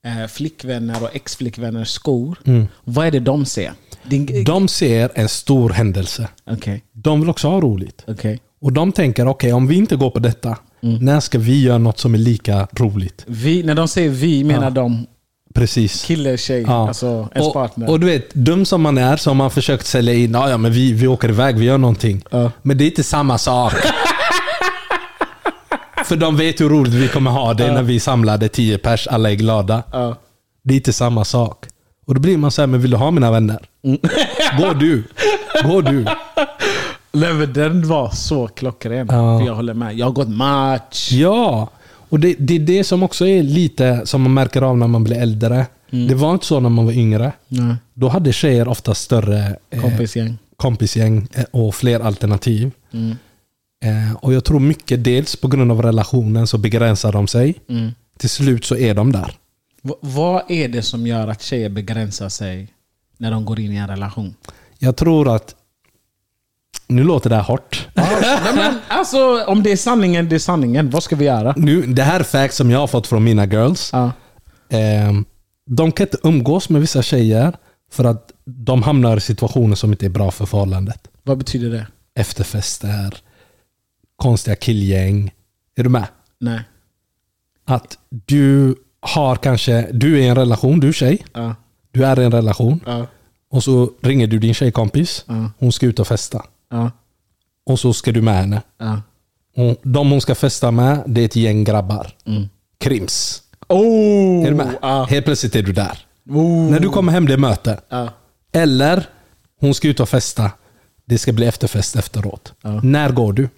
eh, flickvänner och ex-flickvänners skor. Mm. Vad är det de ser? Din- De ser en stor händelse. Okej, De vill också ha roligt. okej. Och de tänker, okej om vi inte går på detta, när ska vi göra något som är lika roligt? Vi- När de säger vi menar de Precis. kille, tjej, Ja. alltså ens och, partner. och du vet, dum som man är så har man försökt sälja in, ja ja men vi, vi åker iväg, vi gör någonting. Ja. Men det är inte samma sak. För de vet hur roligt vi kommer ha det när vi samlade tio pers, alla är glada. Ja. Det är inte samma sak. Och då blir man så här, men vill du ha mina vänner? Mm. Gå du. Gå du. Nej, men den var så klockren. Ja. För jag håller med. Jag har gått match. Ja, och det, det är det som också är lite som man märker av när man blir äldre. Det var inte så när man var yngre. Mm. Nej. Då hade tjejer ofta större eh, Kompisgäng. kompisgäng eh, och fler alternativ. Eh, och Jag tror mycket, dels på grund av relationen, så begränsar de sig. Till slut så är de där. V- vad är det som gör att tjejer begränsar sig när de går in i en relation? Jag tror att... Nu låter det här hårt. Nej, men, alltså, om det är sanningen, det är sanningen. Vad ska vi göra? Nu, det här är facts som jag har fått från mina girls. Ja. Ehm, de kan inte umgås med vissa tjejer för att de hamnar i situationer som inte är bra för förhållandet. Vad betyder det? Efterfester, konstiga killgäng. Är du med? Nej. Att du har kanske, du är i en relation, du tjej. Ja. Du är i en relation. Ja. Och så ringer du din tjejkompis. Hon ska ut och festa. Ja. Och så ska du med henne. Ja. Och de hon ska festa med, det är ett gäng grabbar. Krims. Mm. Oh! Är du med? Ja. Helt plötsligt är du där. Oh. När du kommer hem, det är möte. Ja. Eller, hon ska ut och festa. Det ska bli efterfest efteråt. När går du?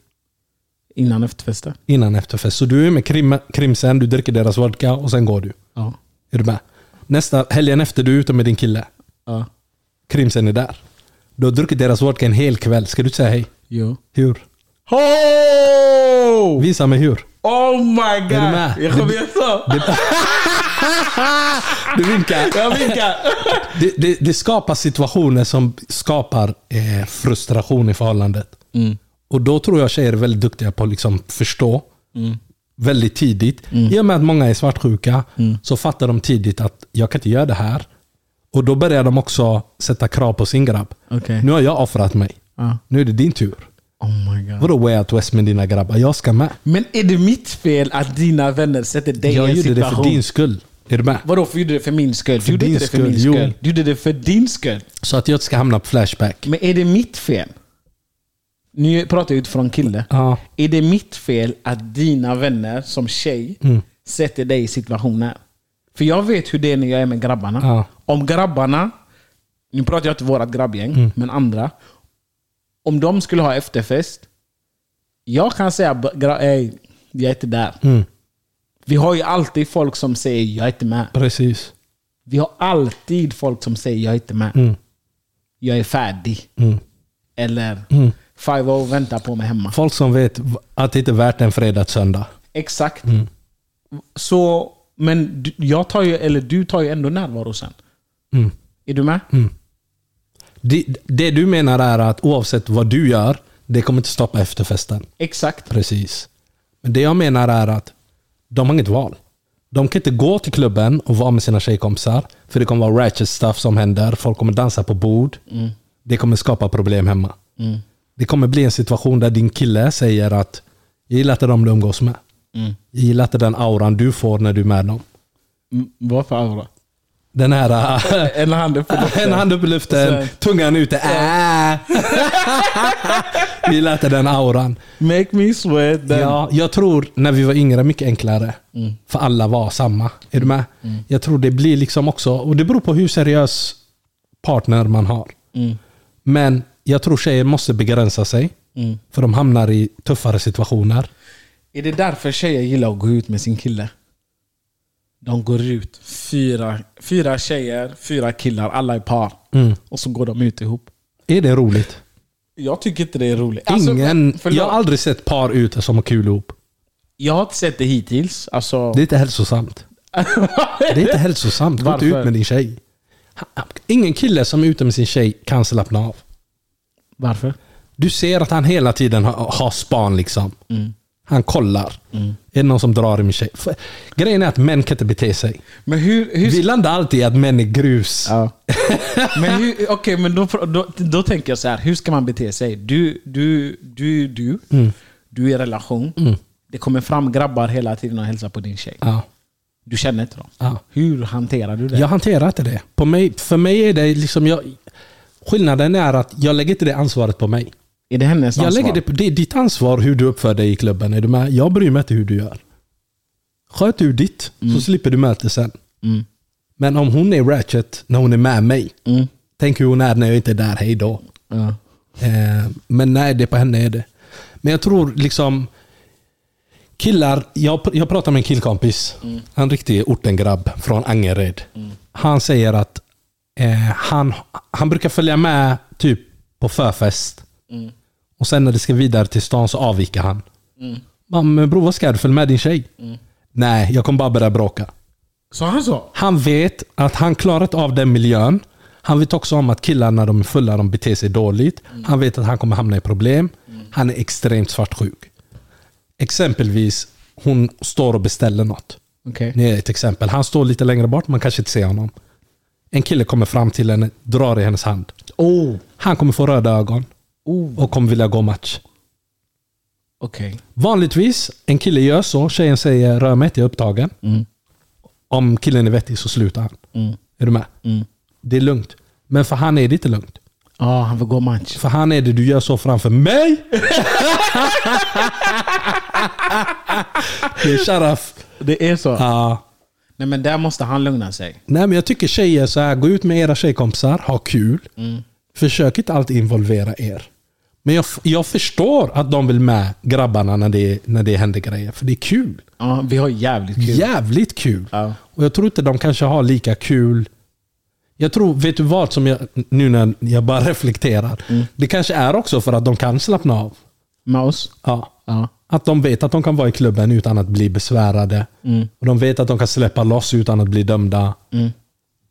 Innan efterfesten. Innan efterfest. Så du är med krim, krimsen, du dricker deras vodka och sen går du. Ja. Är du med? Nästa helgen efter, du är ute med din kille. ja. Krimsen är där. Du har druckit deras vodka en hel kväll. Ska du inte säga hej? Jo. Hur? Oh! Visa mig hur. Oh my god! Är du med? Jag kommer göra så. Du vinkar. Jag vinkar. Det, det, det skapar situationer som skapar eh, frustration i förhållandet. Mm. Och då tror jag tjejer är väldigt duktiga på att liksom förstå Mm. väldigt tidigt. I och med att många är svartsjuka Mm. så fattar de tidigt att jag kan inte göra det här. Och då börjar de också sätta krav på sin grabb. Okej. Nu har jag offrat mig. Ja. Nu är det din tur. Oh my god. Vadå way out west med dina grabbar? Jag ska med. Men är det mitt fel att dina vänner sätter dig Jag i en gjorde det för situation? din skull. Är du med? Vadå, för gjorde det för min skull? Du gjorde din inte det för skull, min jo. skull. Du gjorde det för din skull. Så att jag inte ska hamna på Flashback. Men är det mitt fel? Nu pratar jag utifrån kille. Ja. Är det mitt fel att dina vänner som tjej Mm. sätter dig i situationer? För jag vet hur det är när jag är med grabbarna. Ja. Om grabbarna, nu pratar jag inte vårat grabbgäng, Mm. men andra. Om de skulle ha efterfest, jag kan säga "B- gra- ey, jag är inte där. Mm. Vi har ju alltid folk som säger jag är inte med. Precis. Vi har alltid folk som säger jag är inte med. Mm. Jag är färdig. Eller Mm. Five O väntar på mig hemma. Folk som vet att det inte är värt en fredag till söndag. Exakt. Mm. Så, men du, jag tar ju, eller du tar ju ändå närvaro sen. Mm. Är du med? Det, det du menar är att oavsett vad du gör, det kommer inte stoppa efterfesten. Exakt. Precis. Men det jag menar är att de har inget val. De kan inte gå till klubben och vara med sina tjejkompisar. För det kommer vara ratchet stuff som händer. Folk kommer dansa på bord. Det kommer skapa problem hemma. Det kommer bli en situation där din kille säger att jag gillar inte dem du umgås med. Jag gillar inte den auran du får när du är med dem. Mm. Varför aura? Den här äh, En hand upp En hand upp i luften, tungan ute. Äh. Vi lät den auran. Make me sweat. then. Ja, jag tror när vi var yngre mycket enklare. Mm. För alla var samma. Är du med? Jag tror det blir liksom också, och det beror på hur Mm. seriös partner man har. Men jag tror tjejer måste begränsa sig. Mm. För de hamnar i tuffare situationer. Är det därför tjejer gillar att gå ut med sin kille? De går ut, fyra, fyra tjejer, fyra killar, alla i par. Mm. Och så går de ut ihop. Är det roligt? Jag tycker inte det är roligt. Ingen, Alltså, förlåt. jag har aldrig sett par ute som har kul ihop. Jag har inte sett det hittills. Alltså, Det är inte hälsosamt. Det är inte hälsosamt. Gå inte Varför? ut med din tjej. Ingen kille som är ute med sin tjej kan slappna av. Varför? Du ser att han hela tiden har, har span liksom. Mm. Han kollar. Är det någon som drar i min tjej? För, grejen är att män kan inte bete sig. Men hur... hur Vi landar alltid i att män är grus. ja. men hur okej, men då, då, då tänker jag så här. Hur ska man bete sig? Du, du, du, du. Du är i relation. Det kommer fram grabbar hela tiden och hälsar på din tjej. Ja. Du känner inte dem. Ja. Hur hanterar du det? Jag hanterar inte det. På mig, för mig är det liksom... Jag, skillnaden är att jag lägger inte det ansvaret på mig. Är det hennes Jag ansvar? lägger det, på- det är ditt ansvar hur du uppför dig i klubben. Är du med? Jag bryr mig inte hur du gör. Sköt du ditt så slipper du möta sen. Mm. Men om hon är ratchet när hon är med mig. Mm. Tänk hur hon är när jag inte är där. Hej då. Ja. Eh, men nej, det är på henne är det. Men jag tror liksom... Killar, jag, pr- jag pratade med en killkompis. En riktig ortengrabb från Angered. Han säger att eh, han, han brukar följa med typ på förfest. Och sen när det ska vidare till stan så avviker han. Mm. Men bror, vad ska du? Följ med din tjej. Nej, jag kommer bara börja bråka. Sa han så? Han vet att han klarat av den miljön. Han vet också om att killar när de är fulla de beter sig dåligt. Han vet att han kommer hamna i problem. Han är extremt svartsjuk. Exempelvis, hon står och beställer något. Okej. Det är ett exempel. Han står lite längre bort, man kanske inte ser honom. En kille kommer fram till henne, drar i hennes hand. Oh. Han kommer få röda ögon Oh. och kommer vilja gå match. Okej. Vanligtvis, en kille gör så. Tjejen säger rör mig inte, jag är upptagen. Om killen är vettig så slutar han. Mm. Är du med? Mm. Det är lugnt. Men för han är det inte lugnt. Ja, han vill gå match. För han är det du gör så framför mig. det är sharaf. Det är så? Ja. Nej men där måste han lugna sig. Nej men jag tycker tjejer så här, gå ut med era tjejkompisar, ha kul. Mm. Försök inte alltid involvera er. Men jag, f- jag förstår att de vill med grabbarna när det, när det händer grejer. För det är kul. Ja, vi har jävligt kul. Jävligt kul. Ja. Och jag tror inte de kanske har lika kul. Jag tror, vet du vad, som jag, nu när jag bara reflekterar. Det kanske är också för att de kan slappna av. Med oss? Ja. Ja. Att de vet att de kan vara i klubben utan att bli besvärade. Och de vet att de kan släppa loss utan att bli dömda. Mm.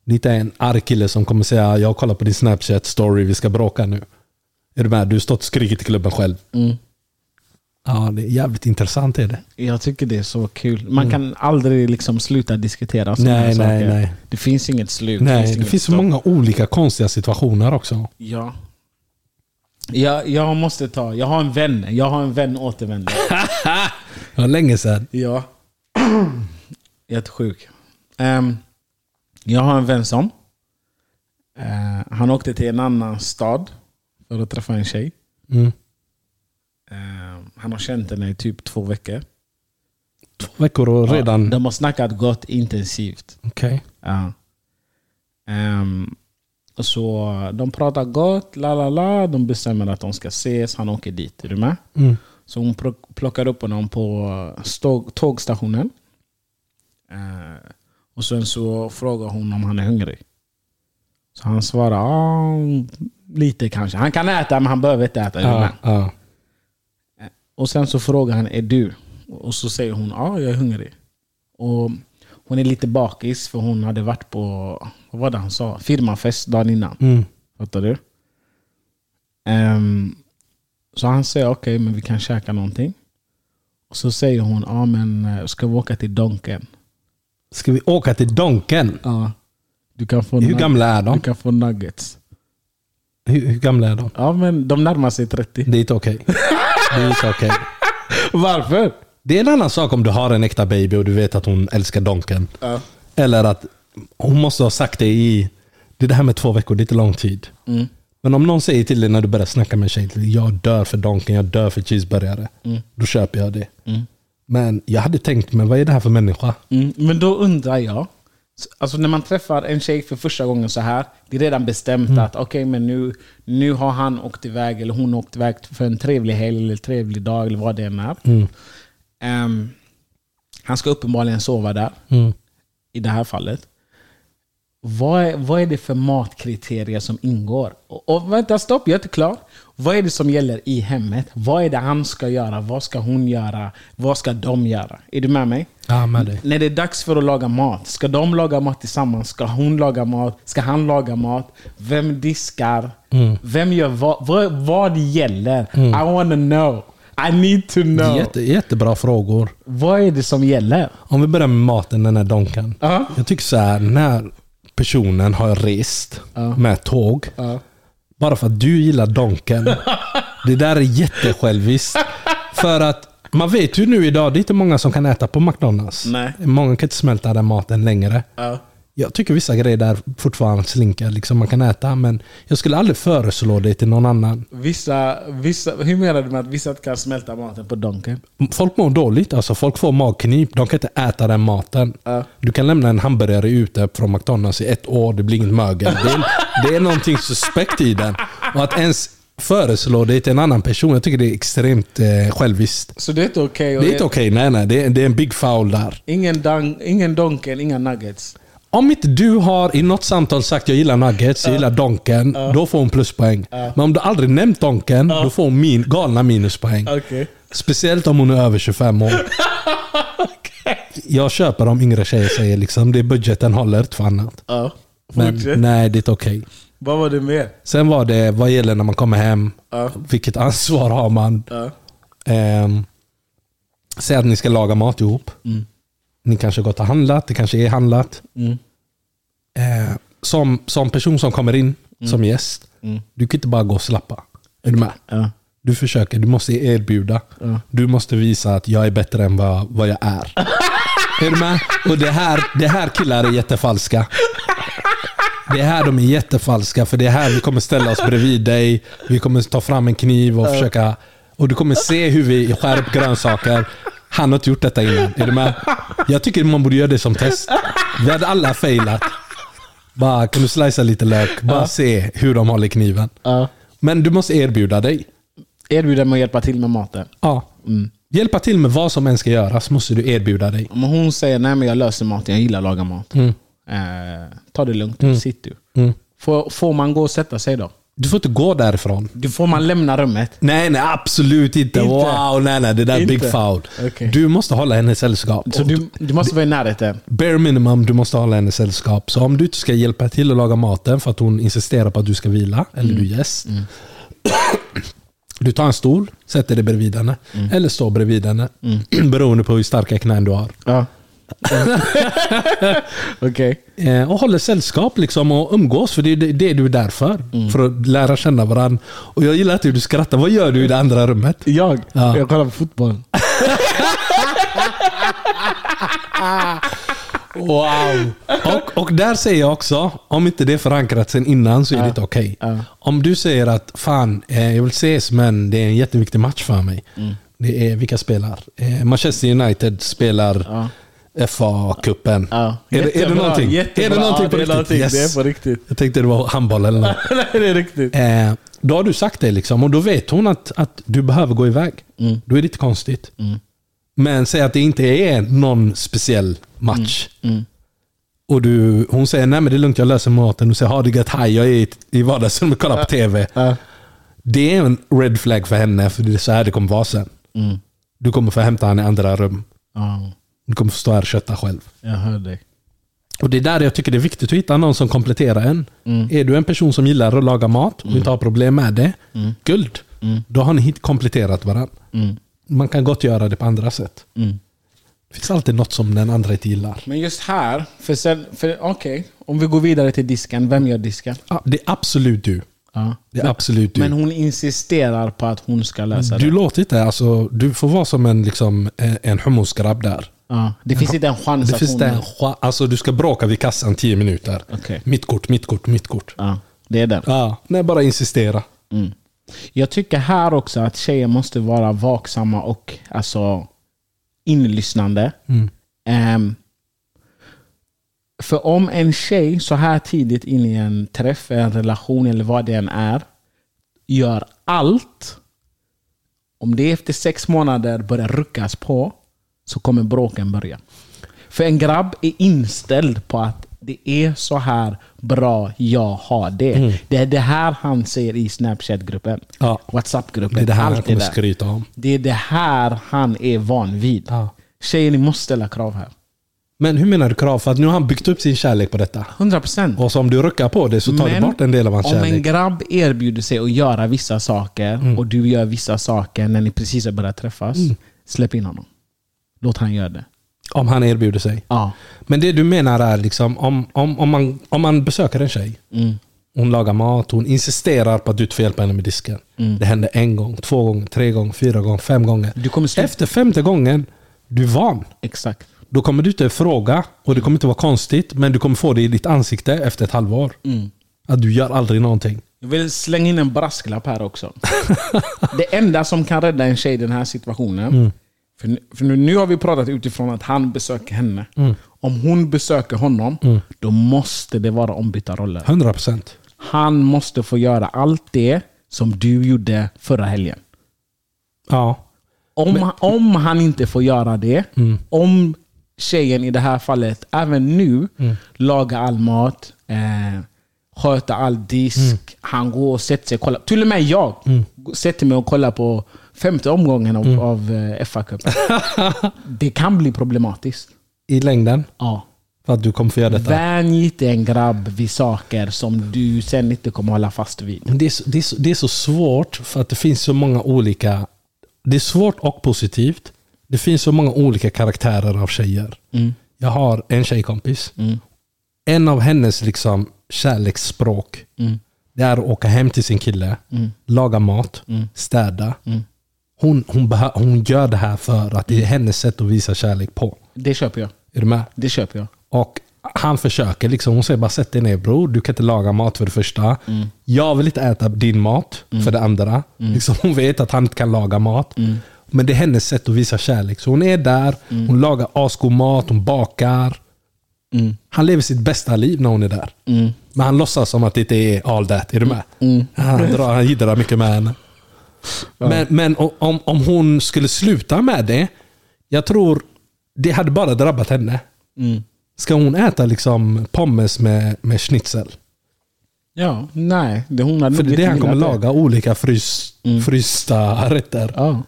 Det är inte en arg kille som kommer säga jag kollar på din snapchat story, vi ska bråka nu. Är du med? Du har stått och skrikit i klubben själv. Ja, det är jävligt intressant är det. Jag tycker det är så kul. Man kan aldrig liksom sluta diskutera såna Mm. Nej, här saker. nej, nej. Det finns inget slut. Nej, det inget finns så stopp. många olika konstiga situationer också. Ja. Jag, jag måste ta, jag har en vän. Jag har en vän återvändare. Det var länge sedan. Ja. Jättesjuk. Ehm, jag har en vän som. eh, han åkte till en annan stad för att träffa en tjej. Mm. Ehm, han har känt henne i typ två veckor. Två veckor och redan... De har snackat gott intensivt. Okej. Ja. Ehm, och så de pratar gott, la la la. De bestämmer att de ska ses. Han åker dit. Är du med? Mm. Så hon plock- plockar upp honom på stå- tågstationen. Eh, och sen så frågar hon om han är hungrig. Så han svarar ja, lite kanske. Han kan äta men han behöver inte äta. Ja, ja. Och sen så frågar han är du? Och så säger hon ja, jag är hungrig. Och hon är lite bakis för hon hade varit på, vad var det han sa? Firmafest dagen innan. Mm. Fattar du? Ehm, så han säger okej, men vi kan käka någonting. Och så säger hon, ja men eh, ska vi åka till Donken? Ska vi åka till Donken? Ja. Du kan få, Hur nug- gamla är du de? kan få nuggets. Hur, hur gamla är de? Ja men de närmar sig 30. Det är inte okej. Det är inte okej. Varför? Det är en annan sak om du har en äkta baby och du vet att hon älskar Donken. Ja. Eller att hon måste ha sagt det i... Det är det här med två veckor, det är inte lång tid. Men om någon säger till dig när du börjar snacka med en tjej, till dig, jag dör för Donken, jag dör för cheeseburgare. Då köper jag det. Men jag hade tänkt, men vad är det här för människa? Mm, men då undrar jag, Så- Alltså när man träffar en tjej för första gången så här, det är redan bestämt att okej, men nu, nu har han åkt iväg eller hon åkt iväg för en trevlig helg eller trevlig dag eller vad det än är. Ehm, han ska uppenbarligen sova där, Mm. i det här fallet. Vad är, vad är det för matkriterier som ingår? Och, och vänta, stopp, jag är inte klar. Vad är det som gäller i hemmet? Vad är det han ska göra? Vad ska hon göra? Vad ska de göra? Är du med mig? Ja, med dig. När det är dags för att laga mat, ska de laga mat tillsammans? Ska hon laga mat? Ska han laga mat? Vem diskar? Mm. Vem gör vad? Vad, vad gäller? I wanna know. I need to know. Jätte, jättebra frågor. Vad är det som gäller? Om vi börjar med maten, den här donken. Ja. Jag tycker så här, när personen har rest med tåg, bara för att du gillar donken. det där är jättesjälviskt. för att man vet ju nu idag, det är inte många som kan äta på McDonalds. Nej. Många kan inte smälta den maten längre. Jag tycker vissa grejer där fortfarande slinker, liksom man kan äta, men jag skulle aldrig föreslå det till någon annan. Vissa, vissa, hur menar du med att vissa inte kan smälta maten på donken? Folk mår dåligt. Alltså, folk får magknip. De kan inte äta den maten. Ja. Du kan lämna en hamburgare ute från McDonalds i ett år. Det blir inget mögel. Det är, det är någonting suspekt i den. Och att ens föreslå det till en annan person. Jag tycker det är extremt eh, själviskt. Så det är inte okej? och Det är inte okej. Nej, nej. Det är, det är en big foul där. ingen, dunk, ingen donken, inga nuggets. Om inte du har i något samtal sagt jag gillar nuggets, jag gillar donken. Då får hon pluspoäng. Men om du aldrig nämnt donken, då får hon min, galna minuspoäng. Okej. Speciellt om hon är över 25 år. Jag köper om yngre tjejer säger liksom det är budgeten håller inte för annat. Ja. Men Fortsätt. nej, det är inte okej. Vad var det mer? Sen var det vad gäller när man kommer hem. Ja. Vilket ansvar har man? Ja. Ehm, säg att ni ska laga mat ihop. Ni kanske gått och handlat, det kanske är handlat. Mm. Ehm, som, som person som kommer in Mm. som gäst, du kan inte bara gå och slappa. Är du med? Ja. Du försöker, du måste erbjuda. Du måste visa att jag är bättre än vad, vad jag är. är du med? Och det här, det här killar är jättefalska. Det är här de är jättefalska, för det är här vi kommer ställa oss bredvid dig. Vi kommer ta fram en kniv och försöka... Och du kommer se hur vi skär upp grönsaker. Han har inte gjort detta innan. Är du med? Jag tycker man borde göra det som test. Vi hade alla failat. Bara, kan du slicea lite lök? Bara se hur de håller kniven. Ja. Men du måste erbjuda dig. Erbjuda mig att hjälpa till med maten. Ja. Hjälpa till med vad som än ska göras måste du erbjuda dig. Om hon säger nej men jag löser maten, jag gillar att laga mat. Mm. Eh, ta det lugnt, sitt du. Får, får man gå och sätta sig då? Du får inte gå därifrån. Du får man lämna rummet? Nej, nej absolut inte. Inte. Wow, nej, nej. Det där är Inte. big foul. Okej. Du måste hålla henne sällskap. Så du, du måste vara i närheten? Bare minimum, du måste hålla henne sällskap. Så om du inte ska hjälpa till att laga maten för att hon insisterar på att du ska vila, eller Mm. du är gäst. Du tar en stol, sätter dig bredvid henne. Mm. Eller står bredvid henne. Beroende på hur starka knän du har. Ja. Okej. Eh, och håller sällskap liksom och umgås. För det är det, det du är där för. Mm. För att lära känna varandra. Och jag gillar att du skrattar. Vad gör du i det andra rummet? Jag? Ja. Jag kollar på fotboll. Wow! Och, och där säger jag också, om inte det är förankrat sen innan så är det inte okej. Om du säger att fan, eh, jag vill ses men det är en jätteviktig match för mig. Mm. Det är, vilka spelar? Eh, Manchester United spelar FA-cupen. Ja. Är, det- är det Jättebra, någonting? jättebra. Är det någonting Ja, på det är riktigt? någonting. Det är på riktigt. Jag tänkte det var handboll eller något. Nej, det är riktigt. Eh, då har du sagt det liksom och då vet hon att, att du behöver gå iväg. Mm. Då är det inte konstigt. Men säg att det inte är någon speciell match. Mm. Och du, hon säger nej men det är lugnt, jag löser maten. Du säger ha det gött, hej jag är i- i vardagsrummet och kollar på TV. ja. Det är en red flag för henne för det är så här det kommer vara sen. Du kommer få hämta henne i andra rum. Mm. Ja, Du kommer få stå här och kötta själv. jag hör dig. Och Det är där jag tycker det är viktigt att hitta någon som kompletterar en. Mm. Är du en person som gillar att laga mat och inte har problem med det, Mm. guld. Då har ni hit- kompletterat varandra. Man kan gott göra det på andra sätt. Det finns alltid något som den andra inte gillar. Mm. Men just här, för sen, för, okej, om vi går vidare till disken, vem gör disken? Ah, Det är absolut du. Ja. Det är absolut du. Men hon insisterar på att hon ska lösa du det. låter inte, alltså, du får vara som en, liksom, eh, en hummusgrabb där. Ja. Det finns inte en chans Det att finns hon... det en, cha- alltså, du ska bråka vid kassan 10 minuter. Okej. Mitt kort, mitt kort, mitt kort. Ja, det är den. Ah, nej, bara insistera. Mm. Jag tycker här också att tjejer måste vara vaksamma och Mm. alltså, inlyssnande. Ehm, För om en tjej så här tidigt in i en träff, en relation eller vad det än är, gör allt. Om det efter sex månader börjar ruckas på så kommer bråken börja. För en grabb är inställd på att det är så här bra jag har det. Det är det här han ser i Snapchat-gruppen. Mm. Ja. Whatsapp-gruppen. Det är det här han allt det kommer där. skryta om. Det är det här han är van vid. Ja. Tjejer, ni måste ställa krav här. Men hur menar du krav? För att nu har han byggt upp sin kärlek på detta. 100 procent. Och så om du ruckar på det så tar du bort en del av hans om en kärlek. Mm. grabb erbjuder sig att göra vissa saker och du gör vissa saker när ni precis har börjat träffas, släpp in honom. Låt han göra det. Om han erbjuder sig. Ja. Men det du menar är liksom om, om, om, man, om man besöker en tjej. Mm. Hon lagar mat, hon insisterar på att du inte får hjälpa henne med disken. Det händer en gång, två gånger, tre gånger, fyra gånger, fem gånger. Mm. Du kommer sluta. Efter femte gången, du är van. Exakt. Då kommer du inte fråga och det kommer inte vara konstigt. Men du kommer få det i ditt ansikte efter ett halvår. Mm. Att du gör aldrig någonting. Jag vill slänga in en brasklapp här också. det enda som kan rädda en tjej i den här situationen, Mm. för, nu- för nu, nu har vi pratat utifrån att han besöker henne. Mm. Om hon besöker honom, då måste det vara ombytta roller. 100 procent. Han måste få göra allt det som du gjorde förra helgen. Ja. Om, om han inte får göra det, om tjejen i det här fallet, även nu, lagar all mat, eh, sköter all disk, han går och sätter sig och kollar. Till och med jag sätter mig och kollar på femte omgången av, av eh, FA-cupen. det kan bli problematiskt. I längden. Ja. För att du kommer få göra detta. Vänj inte en grabb vid saker som du sen inte kommer hålla fast vid. Men Det är, så, det, är så, det är så svårt för att det finns så många olika... Det är svårt och positivt. Det finns så många olika karaktärer av tjejer. Jag har en tjejkompis. En av hennes liksom kärleksspråk det är att åka hem till sin kille, laga mat, städa. Hon, hon, behö- hon gör det här för att det är hennes sätt att visa kärlek på. Det köper jag. Är du med? Det köper jag. Och han försöker. Liksom, hon säger bara sätt dig ner bror. Du kan inte laga mat för det första. Jag vill inte äta din mat för det andra. Liksom, hon vet att han inte kan laga mat. Men det är hennes sätt att visa kärlek. Så hon är där, hon lagar asgod mat, hon bakar. Han lever sitt bästa liv när hon är där. Men han låtsas som att det inte är all that. Är du med? Han, drar, han jiddrar mycket med henne. Men, men o- om, om hon skulle sluta med det, jag tror det hade bara drabbat henne. Mm. Ska hon äta liksom pommes med, med schnitzel? Ja, nej. Det hon hade För det nog är det inte han kommer gillat det. laga, olika frys, frysta rätter. Ja.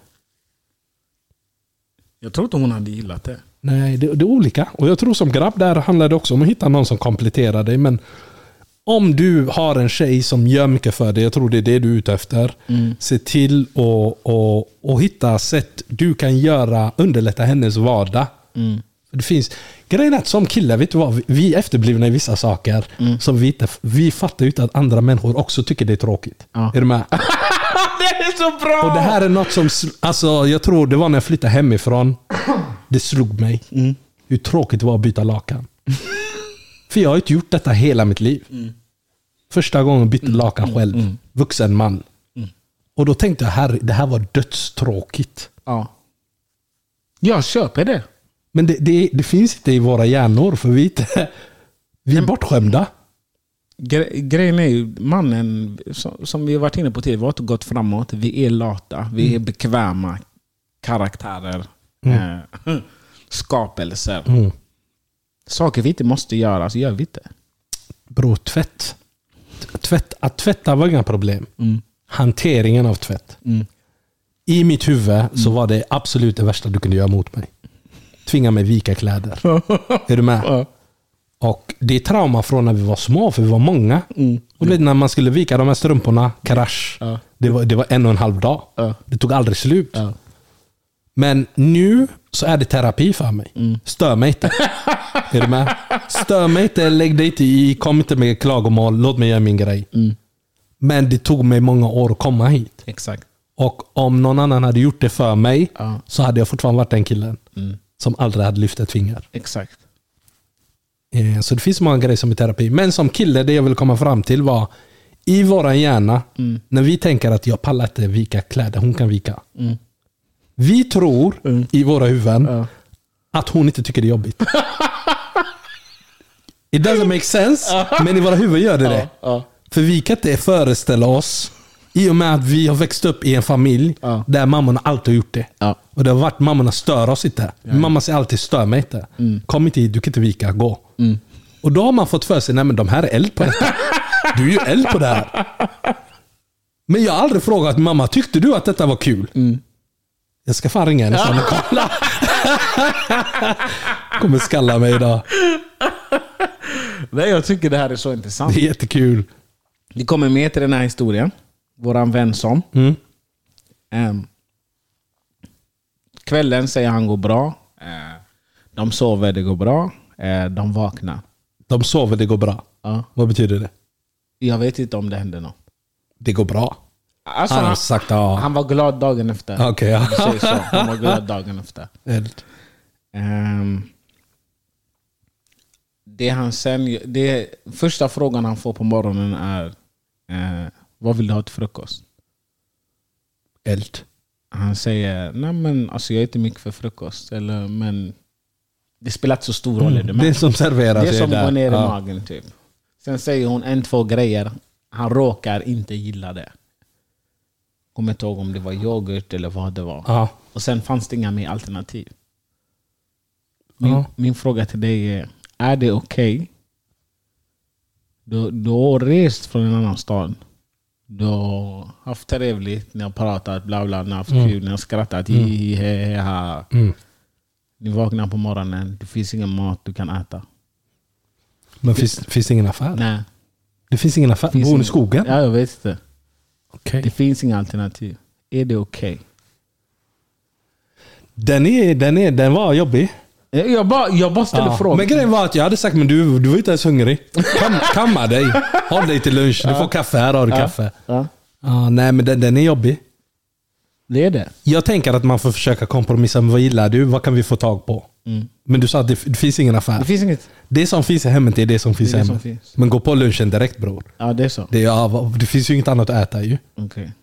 Jag tror inte hon hade gillat det. Nej, det, det är olika. Och jag tror som grabb där handlar det också om att hitta någon som kompletterar dig. Men om du har en tjej som gör mycket för dig, jag tror det är det du är ute efter. Se till att och, och hitta sätt du kan göra, underlätta hennes vardag. För Det finns, grejen är att som killar, vet du vad? Vi- Vi är efterblivna i vissa saker. Som vi, inte, vi fattar ju inte att andra människor också tycker det är tråkigt. Ja. Är du med? det är så bra! Och det här är något som, sl- alltså jag tror det var när jag flyttade hemifrån. Det slog mig. Hur tråkigt det var att byta lakan. För jag har inte gjort detta hela mitt liv. Första gången jag bytte lakan själv. Vuxen man. Och då tänkte jag, herre, det här var dödstråkigt. Ja. Jag köper det. Men det, det, det finns inte i våra hjärnor för vi är, inte, vi är bortskämda. Gre- grejen är ju, mannen, som, som vi har varit inne på tidigare, vi har inte gått framåt. Vi är lata. Vi Mm. är bekväma karaktärer. Eh, skapelser. Mm. Saker vi inte måste göra, så gör vi inte. Bror, tvätt. T- tvätt. Att tvätta var inga problem. Hanteringen av tvätt. I mitt huvud så var det absolut det värsta du kunde göra mot mig. Tvinga mig vika kläder. är du med? Och det är trauma från när vi var små, för vi var många. Och du vet, när man skulle vika de här strumporna, krasch. Det, var, det var en och en halv dag. Det tog aldrig slut. Men nu så är det terapi för mig. Stör mig inte. Är du med? Stör mig inte, lägg dig inte i, kom inte med klagomål, låt mig göra min grej. Men det tog mig många år att komma hit. Exakt. Och om någon annan hade gjort det för mig Ja. så hade jag fortfarande varit den killen som aldrig hade lyft ett finger. Exakt. Eh, Så det finns många grejer som är terapi. Men som kille, det jag vill komma fram till var i våran hjärna, när vi tänker att jag pallar inte vika kläder, hon kan vika. Vi tror i våra huvuden att hon inte tycker det är jobbigt. It doesn't make sense, men i våra huvuden gör det det. Ja. För vi kan inte föreställa oss, i och med att vi har växt upp i en familj Ja. där mammorna alltid har gjort det. Ja. Och det har varit mammorna stör oss inte. Mamma säger alltid stör mig inte. Mm. Kom inte hit, du kan inte vika, gå. Och då har man fått för sig, nej men de här är eld på detta. Du är ju eld på det här. Men jag har aldrig frågat mamma, tyckte du att detta var kul? Mm. Jag ska fan ringa henne sen och kolla. Kommer skalla mig idag. Nej, jag tycker det här är så intressant. Det är jättekul. Vi kommer med till den här historien. Våran vän som. Mm. Ehm, kvällen säger han går bra. Eh, de sover, det går bra. Eh, de vaknar. De sover, det går bra. Ja. Vad betyder det? Jag vet inte om det hände något. Det går bra. Alltså, Han har han, sagt ja. han var glad dagen efter. Okej, ja. Vi säger så. Han var glad dagen efter. Eld. Ehm, det han sen, det, första frågan han får på morgonen är eh, Vad vill du ha till frukost? Eld. Han säger Nej men alltså jag är inte mycket för frukost. Eller, men det spelar inte så stor roll. är du med? Mm, Det som serveras Det är som där. går ner i Ja. magen typ. Sen säger hon en, två grejer. Han råkar inte gilla det. Kommer inte ihåg om det var yoghurt eller vad det var. Ja. Och sen fanns det inga mer alternativ. Min, Ja. min fråga till dig är, är det okej? Du, du har rest från en annan stad. Du har haft trevligt, ni har pratat, bla bla, ni har haft kul, ni har skrattat. Mm. Hi, he, he, ha. Mm. Ni vaknar på morgonen, det finns ingen mat du kan äta. Men finns, finns det ingen affär? Nej. Det finns ingen affär. Finns Bor hon i ingen- skogen? Ja, jag vet inte. Okej. Det finns inga alternativ. Är det okej? Den, är, den, är, den var jobbig. Eh, Jag bara, jag bara ställer Ja. frågan. Men grejen var att jag hade sagt men du, du var inte ens hungrig. Kam, kamma dig. Håll dig till lunch. Du får kaffe. Här har du kaffe. ja, Ja, nej, men den, den är jobbig. det är det. Jag tänker att man får försöka kompromissa. Vad gillar du? Vad kan vi få tag på? Mm. Men du sa att det, det finns ingen Det affär. finns inget. Det som finns i hemmet är det som finns Det i är det hemmet. som finns. Men gå på lunchen direkt bror. Ja, det är så. Det, är- ja, vad- det finns ju inget annat att äta ju. Okej. Men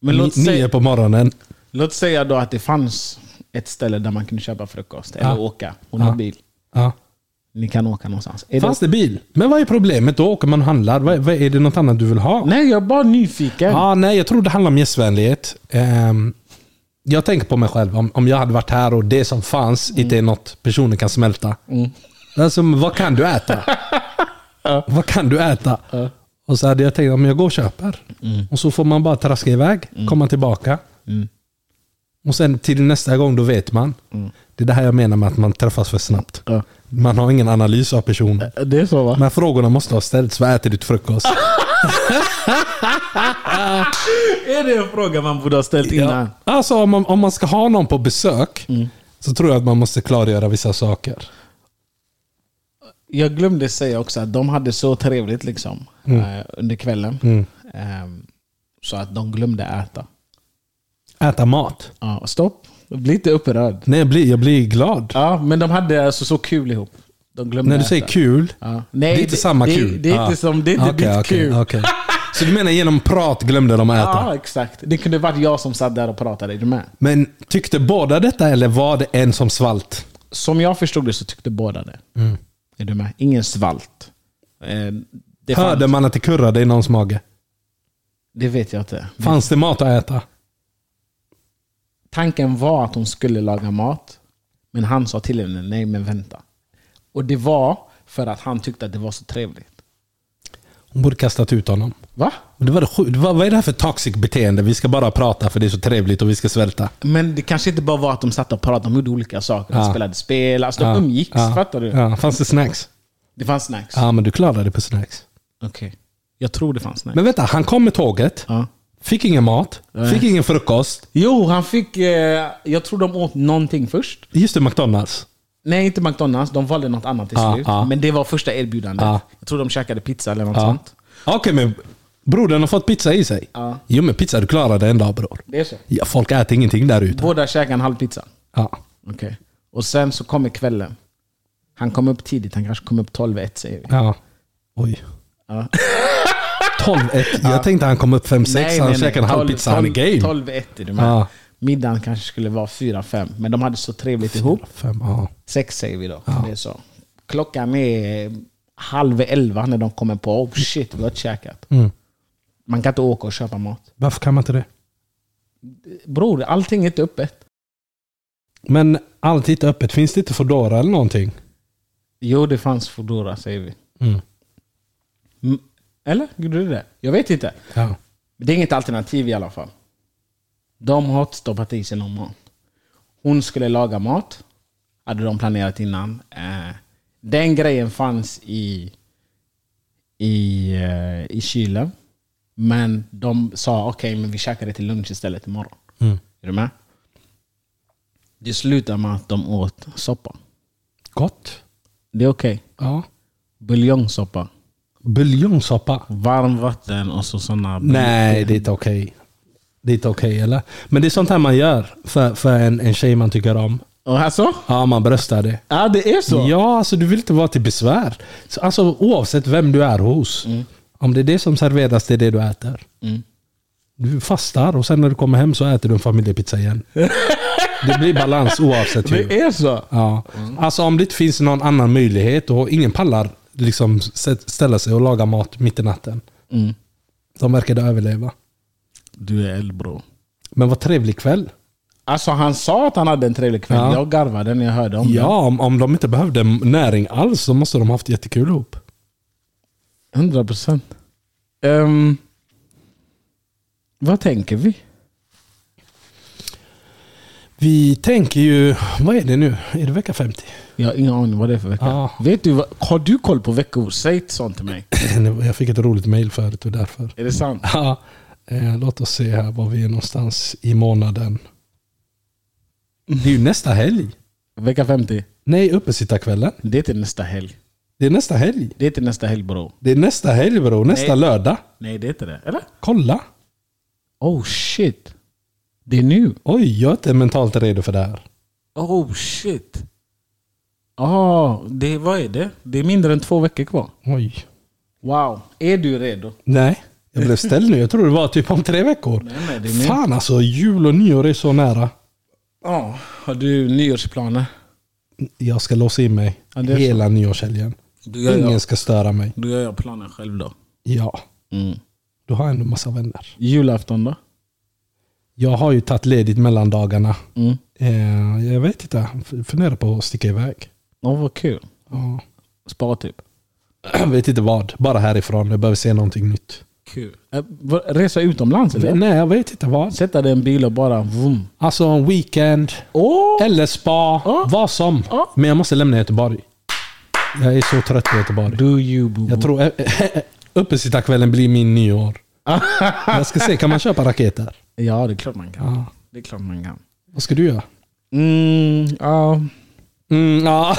Men låt, Nio säga, på morgonen. låt säga då att det fanns ett ställe där man kunde köpa frukost eller Ja. åka. Hon har Ja. bil. Ja. Ni kan åka någonstans. Är Fanns det, det bil? Men vad är problemet? Då åker man och handlar. Vad, vad, är det något annat du vill ha? Nej. nej, jag är bara nyfiken. Ah, nej, jag tror det handlar om gästvänlighet. Ehm, jag tänker på mig själv. Om, om jag hade varit här och det som fanns inte är något personen kan smälta. Alltså, men vad kan du äta? Vad kan du äta? Och så hade jag tänkt att jag går och köper. Och så får man bara traska iväg, komma tillbaka. Och sen till nästa gång, då vet man. Det är det här jag menar med att man träffas för snabbt. Ja. Man har ingen analys av personen. Det är så va? Men frågorna måste ha ställts. Vad äter du till frukost? är det en fråga man borde ha ställt innan? Alltså om man, om man ska ha någon på besök så tror jag att man måste klargöra vissa saker. Jag glömde säga också att de hade så trevligt liksom Mm. eh, under kvällen. Ehm, så att de glömde äta. Äta mat. Ja, stopp. Bli inte upprörd. Nej, jag blir, jag blir glad. Ja, men de hade alltså så kul ihop. De glömde När du äta. säger kul, Ja. Nej, det är inte samma det, kul. Det är Ah. inte, som, det är inte Okej, ditt okej, kul. okej. Så du menar genom prat glömde de att äta? Ja, exakt. Det kunde varit jag som satt där och pratade. Är du med? Men tyckte båda detta eller var det en som svalt? Som jag förstod det så tyckte båda det. Mm. Är du med? Ingen svalt. Eh, Det, Hörde fanns- man att det kurrade i någons mage? det vet jag inte. Fanns det mat att äta? Tanken var att hon skulle laga mat, men han sa till henne nej men vänta. Och det var för att han tyckte att det var så trevligt. Hon borde kastat ut honom. Va? Det var det sju- det var, vad är det här för toxic beteende? Vi ska bara prata för det är så trevligt och vi ska svälta. Men det kanske inte bara var att de satt och pratade, de gjorde olika saker. De Ja. spelade spel, alltså de Ja, umgicks. ja, Fattar du? Ja, fanns det snacks? Det fanns snacks. Ja, men du klarade det på snacks. Okej. Jag tror det fanns snacks. Men vänta, han kom med tåget, ja. fick ingen mat, fick ingen frukost. Jo, han fick... Eh, jag tror de åt någonting först. Just det, McDonalds. Nej, inte McDonalds. De valde något annat till Ja, slut. ja. Men det var första erbjudandet. Ja. Jag tror de käkade pizza eller något Ja. sånt. Okej, men brodern har fått pizza i sig. Ja. Jo, men pizza, du klarade det en dag bror. Det är så. Ja, folk äter ingenting där ute. Båda käkade en halv pizza. Ja. Okej. Och sen så kommer kvällen. Han kom upp tidigt. Han kanske kom upp 12-1 säger vi. ja. Oj. Ja. 12-1. Jag tänkte han kom upp 5-6, han käkade en halv 12, pizza, han är 12, game. Ah. 12-1 är du med. Ja. Middagen kanske skulle vara 4-5. Men de hade så trevligt ihop. Fem, ja. Sex säger vi då. Det är så. Klockan är halv elva när de kommer på oh shit, vi har inte käkat. Mm. Man kan inte åka och köpa mat. Varför kan man inte det? Bror, allting är inte öppet. Men allt är inte öppet. Finns det inte Foodora eller någonting? Jo, det fanns Foodora säger vi. Mm. Mm. Eller? Gjorde det det? Jag vet inte. Ja. Det är inget alternativ i alla fall. De har inte stoppat i sig någon mat. Hon skulle laga mat, hade de planerat innan. Eh, Den grejen fanns i, i, eh, i kylen. Men de sa okej, men vi käkar det till lunch istället imorgon. Mm. Är du med? Det slutade med att de åt soppa. Gott. Det är okej. Ja. Buljongsoppa. Buljongsoppa. Varmvatten och så sådana... Nej, det är inte okej. Det är inte okej eller? Men det är sånt här man gör för, för en, en tjej man tycker om. Och alltså, här så? Ja, man bröstar det. Ja, det är så. Ja, alltså du vill inte vara till besvär. Så, alltså oavsett vem du är hos. Om det är det som serveras, det är det du äter. Mm. Du fastar och sen när du kommer hem så äter du en familjepizza igen. det blir balans oavsett hur. Det är Mm. så. Ja. Alltså om det inte finns någon annan möjlighet och ingen pallar liksom s- ställa sig och laga mat mitt i natten. Mm. De verkade överleva. Du är eldbro. Men vad trevlig kväll. Alltså han sa att han hade en trevlig kväll. Ja. Jag garvade när jag hörde om Ja, om, om de inte behövde näring alls så måste de haft jättekul ihop. det. 100 procent. Ehm, vad tänker vi? Vi tänker ju, vad är det nu? Är det vecka 50? Jag har ingen aning vad det är för vecka. Ja. Vet du, vad- har du koll på veckor? Säg inte sånt till mig. Jag fick ett roligt mail förut och därför. Är det sant? Ja, eh, låt oss se här var vi är någonstans i månaden. Det är ju nästa helg. Vecka 50? Nej, uppesittarkvällen. Det är till nästa helg. Det är nästa helg. Det är till nästa helg bro. Det är nästa helg bro. Nästa Nej. lördag. Nej det är inte det. Eller? Kolla. Oh shit. Det är nu. Oj, jag är inte mentalt redo för det här. Oh shit. Ah, det, vad är det? Det är mindre än två veckor kvar. Oj. Wow. Är du redo? Nej, jag blev ställd nu. Jag tror det var typ om tre veckor. Nej, nej, det är nu. Fan alltså, jul och nyår är så nära. Ja, har du nyårsplaner? Jag ska låsa in mig Ja, det är så. hela nyårshelgen. Du Ingen ska störa mig. Då gör jag planen själv då. Ja, Mm. du har ändå massa vänner. Julafton då? Jag har ju tagit ledigt mellan dagarna. Mm. Eh, jag vet inte, jag funderar på att sticka iväg. Åh, vad kul. Ja. Spara typ. Jag vet inte vad, bara härifrån. Jag behöver se någonting nytt. Kul. Mm. Eh, vad- resa utomlands eller? Nej, jag vet inte vad. Sätta dig i en bil och bara vroom. Alltså en weekend, Åh! eller spa, Ja. vad som. Ja. Men jag måste lämna Göteborg. Jag är så trött på Göteborg. Do you boo. Jag tror eh, uppesittarkvällen blir min nyår. jag ska se, kan man köpa raketer? Ja, det är klart man kan. Ja. Det är klart man kan. Vad ska du göra? Mm, ja. Mm, ja.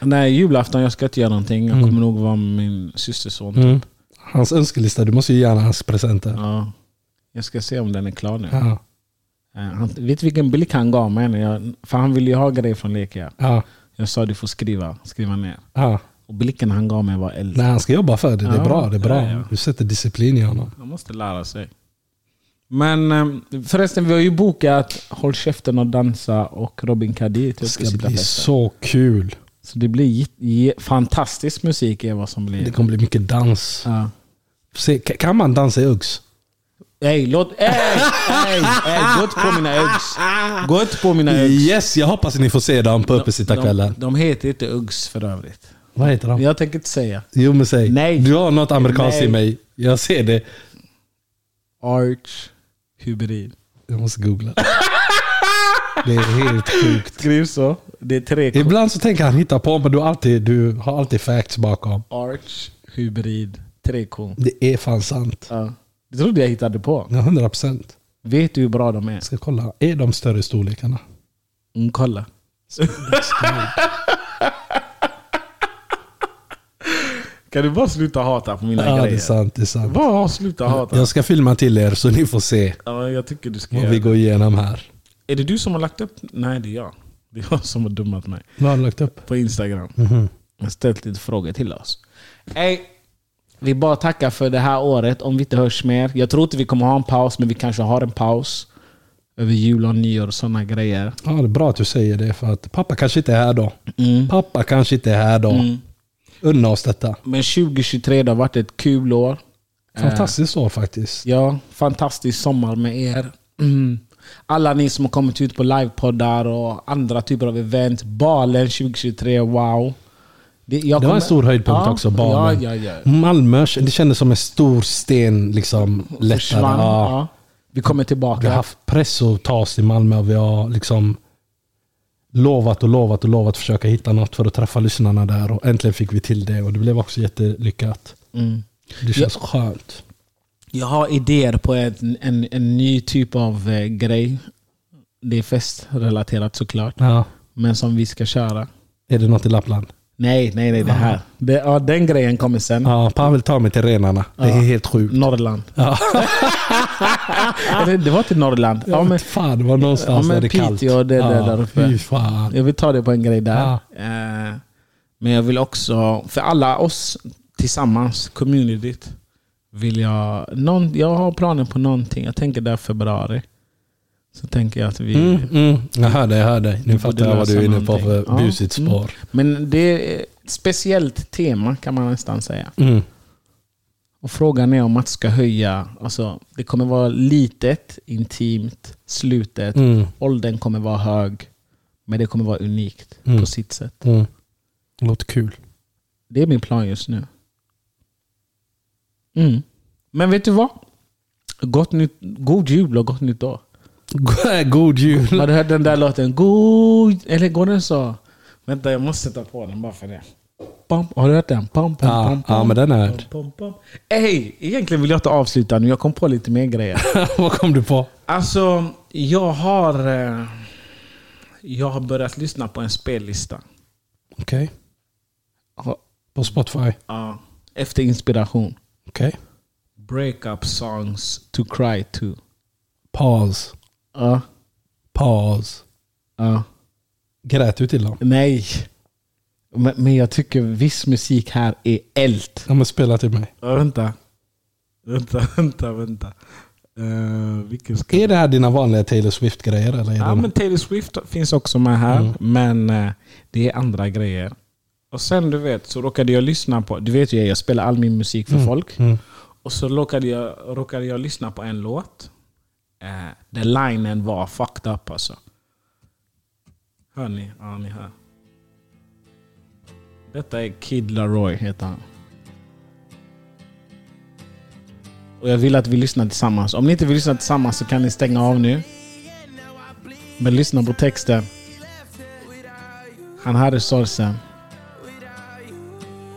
Nej, julafton jag ska inte göra någonting. Jag kommer nog vara med min systerson. Mm. Hans önskelista, du måste ju ge honom hans presenter. Ja. Jag ska se om den är klar nu. Ja. Eh, Han, vet du vilken blick han gav mig? när jag- För han ville ju ha grejer från Lekia. Ja. Jag sa du får skriva, skriva ner. Ja. Och blicken han gav mig var eld. Nej, han ska jobba för det. Det Ja, är bra. Det är ja, ja. bra. Du sätter disciplin i honom. Han måste lära sig. Men eh, förresten, vi har ju bokat Håll käften och dansa och Robin typ Kadir till Det ska bli uppesittarfesten. så kul. Så det blir j- j- fantastisk musik är vad som blir. Det kommer bli mycket dans. Ja. Se, ka- kan man dansa i Uggs? Ey, låt... Ey, ey, ey, gå inte på mina Uggs. Gå inte på mina Uggs. Yes, jag hoppas ni får se dem på De, uppesittarkvällen. de heter inte Uggs för övrigt. Vad heter de? Jag tänker inte säga. Jo men säg. Nej. Du har något amerikanskt Nej. i mig. Jag ser det. Arch Hybrid. Jag måste googla. Det är helt sjukt. Skriv så. Det är tre K. Ibland så tänker han hitta på men du, har alltid, du har alltid facts bakom. Arch Hybrid 3K. Det är fan sant. Ja. Det trodde jag hittade på. Ja, 100 procent. Vet du hur bra de är? Ska kolla. Är de större i storlekarna? Mm, kolla. kan du bara sluta hata på mina Ja, det är grejer? sant. Det är sant. Bara sluta hata. Jag ska filma till er så ni får se Ja, jag tycker du ska vad göra vi det. går igenom här. Är det du som har lagt upp? Nej, det är jag. Det är jag som har dummat mig. Vad har du lagt upp? På Instagram. Mhm. Jag har ställt lite frågor till oss. Ey, vi bara tackar för det här året. Om vi inte hörs mer. Jag tror inte vi kommer ha en paus, men vi kanske har en paus. Över jul och nyår och sådana grejer. Mm. Ja, det är bra att du säger det för att pappa kanske inte är här då. Pappa kanske inte är här då. Unna oss detta. Men 2023 det har varit ett kul år. Fantastiskt år faktiskt. Ja, fantastisk sommar med er. Mm. Alla ni som har kommit ut på livepoddar och andra typer av event. Balen 2023, wow. jag Det var kommer- en stor höjdpunkt Ja, också, balen. Ja, ja, ja. Malmö, det kändes som en stor sten liksom lättare. Försvann. Ja. Ja. Vi kommer Vi tillbaka. har haft press att ta oss till Malmö och vi har liksom lovat och lovat och lovat att försöka hitta något för att träffa lyssnarna där. Och äntligen fick vi till det och det blev också jättelyckat. Mm. Det känns skönt. Jag har idéer på ett, en, en ny typ av eh, grej. Det är festrelaterat såklart. Ja. Men som vi ska köra. Är det något i Lappland? Nej, nej, nej. Det här. Det, ja, den grejen kommer sen. Ja, Pavel tar mig till renarna. Det är helt sjukt. Norrland. Ja. Eller, det var till Norrland. Ja, men, fan, det var någonstans Ja, men där det är kallt. Piteå, det är det ja, där uppe. Fy fan. jag vill ta det på en grej där. Ja. Eh, men jag vill också, för alla oss tillsammans, communityt, vill jag... Någon, jag har planer på någonting. Jag tänker där februari. Så tänker jag att vi... Mm, mm. Jag hör dig, jag hör dig. Nu borde fattar jag vad lösa du är inne på för någonting. Ja. busigt spår. Men det är ett speciellt tema kan man nästan säga. Mm. Och frågan är om att ska höja, alltså det kommer vara litet, intimt, slutet. Mm. Åldern kommer vara hög, men det kommer vara unikt Mm. på sitt sätt. Mm. Låter kul. Det är min plan just nu. Mm. Men vet du vad? Gott nytt, god jul och gott nytt år. God jul. Har du hört den där låten? God... Eller går den så? Vänta, jag måste sätta på den bara för det. Pam, har du hört den? Pam, pam, Ja, pam, ja, pam, men den har jag hört. pam, pam. Ey, egentligen vill jag inte avsluta nu. Jag kom på lite mer grejer. vad kom du på? Alltså, jag har... eh, Jag har börjat lyssna på en spellista. Okej. Ja, På Spotify? ja, Efter inspiration. Okej. Breakup songs to cry to. Paus. Ja, Paus. ja. Grät du till dem? Nej. Men, men jag tycker viss musik här är eld. Ja men spela till mig. Ja, vänta. Vänta, vänta, vänta. Uh, vilken ska Är det här dina vanliga Taylor Swift-grejer? Eller är Ja, det men Taylor Swift finns också med här. Men eh, det är andra grejer. Och sen du vet så råkade jag lyssna på... Du vet ju jag spelar all min musik för folk. Och så råkade jag, råkade jag lyssna på en låt. Eh, där linen var fucked up alltså. Hör ni? Ja, ni hör. Detta är Kid Laroi heter han. Och jag vill att vi lyssnar tillsammans. Om ni inte vill lyssna tillsammans så kan ni stänga av nu. Men lyssna på texten. Han hade sorgsen.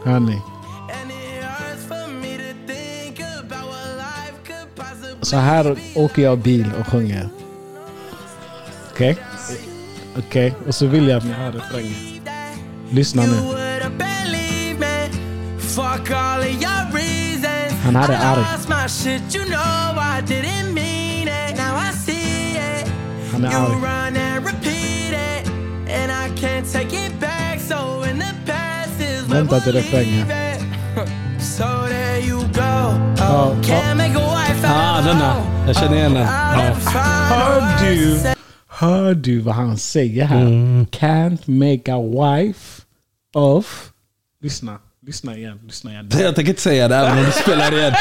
Hör ni? And it hurts for me to think about what life could possibly Så här åker jag bil och sjunger. Okej? Okej, och så vill jag att ni hör refrängen. Lyssna You nu. would have believed me. Fuck all of your reasons. Han hade I arg. lost my shit, you know I didn't mean it. Now I see it. Han är You arg. run and repeat it. And I can't take it back. So in the past is where Vänta till we'll refrängen. leave it. So there you go. Ja, Oh, ja. can't make a wife Ah, out of den a där. hoe. Jag känner igen den. Out Ja. of fine Hör du, words. hör du vad han säger här? Mm, Can't make a wife of... Lyssna. Lyssna igen. Lyssna igen. Jag tänker inte säga det även om du spelar igen.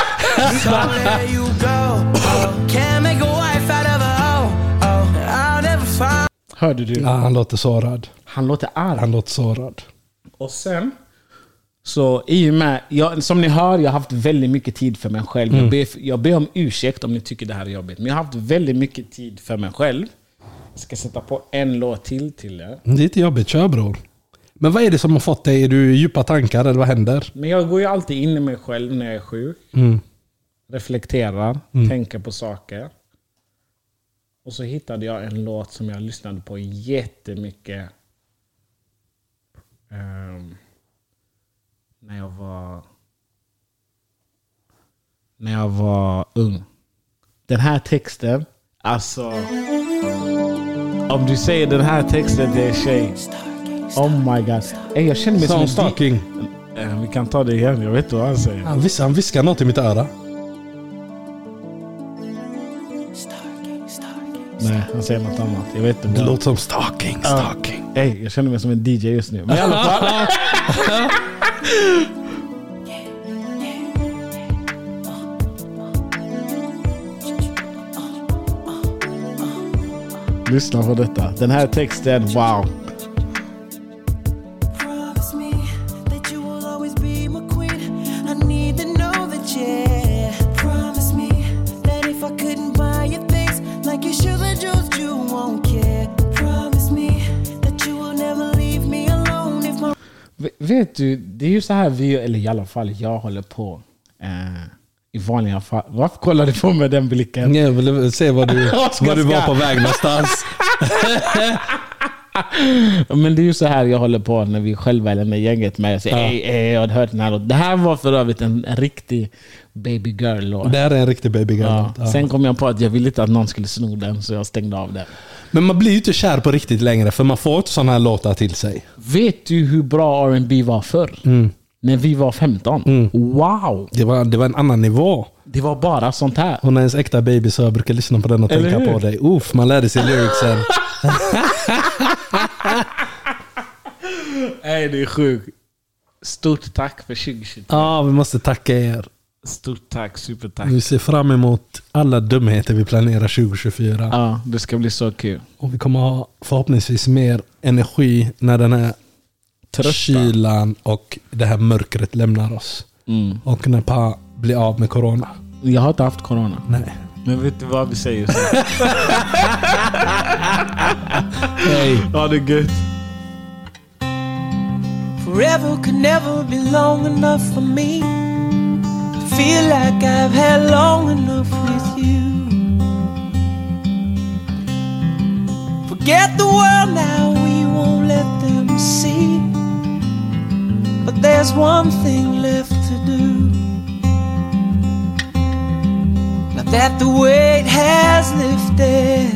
So there you go. Oh, can't make a wife out of a hoe. Oh, I'll never find. Hörde du? Ja, han låter sårad. Han låter arg. Han låter sårad. Och sen, så i och med, jag, som ni hör, jag har haft väldigt mycket tid för mig själv. Jag, ber, jag ber om ursäkt om ni tycker det här är jobbigt, men jag har haft väldigt mycket tid för mig själv. Jag ska sätta på en låt till till er. Det är inte jobbigt, kör bror. Men vad är det som har fått dig? Är du i djupa tankar eller vad händer? Men jag går ju alltid in i mig själv när jag är sjuk. Reflekterar, tänker på saker. Och så hittade jag en låt som jag lyssnade på jättemycket. ehm, när jag var... När jag var ung. Den här texten, alltså... Om du säger den här texten till en tjej. Oh my god. Ey, jag känner mig som en di- Soundstalking. Eh, Vi kan ta det igen, jag vet vad han säger. Han, vis- han viskar något i mitt öra. Nej, han säger något annat. Jag vet inte. Det Bara. låter som stalking, stalking. Ey, jag känner mig som en DJ just nu. Men i alla fall. Lyssna på detta. Den här texten, wow. Promise me that you will always be my queen. I need to know that, yeah. Promise me that if I couldn't buy you things like you should the jewels, you won't care. Promise me that you will never leave me alone if my V- Vet du, det är ju så här vi, eller i alla fall jag håller på. Eh, I vanliga fall. Varför kollar du på mig med den blicken? Jag ville se var du, Ska- var du var ska. på väg någonstans. Men det är ju så här jag håller på när vi själva eller när gänget med. Jag säger Ja. ey, ey, jag har hört den här låten. Det här var för övrigt en riktig baby girl-låt. Det här är en riktig baby girl. Ja. Ja. Sen kom jag på att jag ville inte att någon skulle sno den så jag stängde av den. Men man blir ju inte kär på riktigt längre för man får inte sådana här låtar till sig. Vet du hur bra R&B var förr? När vi var 15? Wow! Det var, det var en annan nivå. Det var bara sånt här. Hon är ens äkta baby så jag brukar lyssna på den och Eller tänka hur? på dig. Uff, man lärde sig lyricsen. Nej, det är sjukt. Stort tack för 2020. Ja, vi måste tacka er. Stort tack, supertack. Vi ser fram emot alla dumheter vi planerar 2024. Ja, det ska bli så kul. Och vi kommer ha förhoppningsvis mer energi när den här Trötta. kylan och det här mörkret lämnar oss. Mm. Och när Pa blir av med corona. Jag har inte haft corona. Nej. Men vet du vad vi säger? Hej. ha det gött. forever could never be long enough for me. to Feel like I've had long enough with you. Forget the world now, we won't let them see. But there's one thing left to do. Now that the weight has lifted,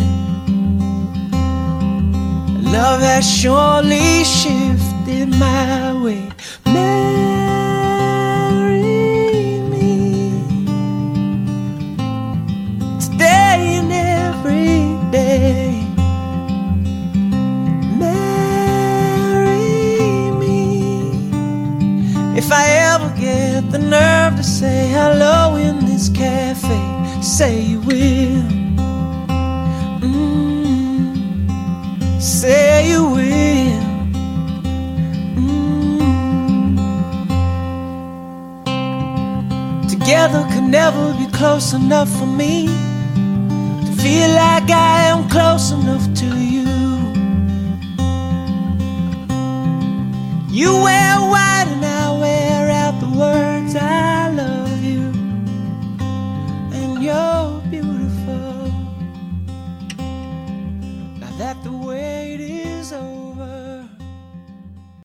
Love has surely shifted my way. Marry me today and every day. Marry me if I ever get the nerve to say hello in this cafe. Say you will. Mm. Say you will. Mm. Together could never be close enough for me to feel like I am close enough to you. You and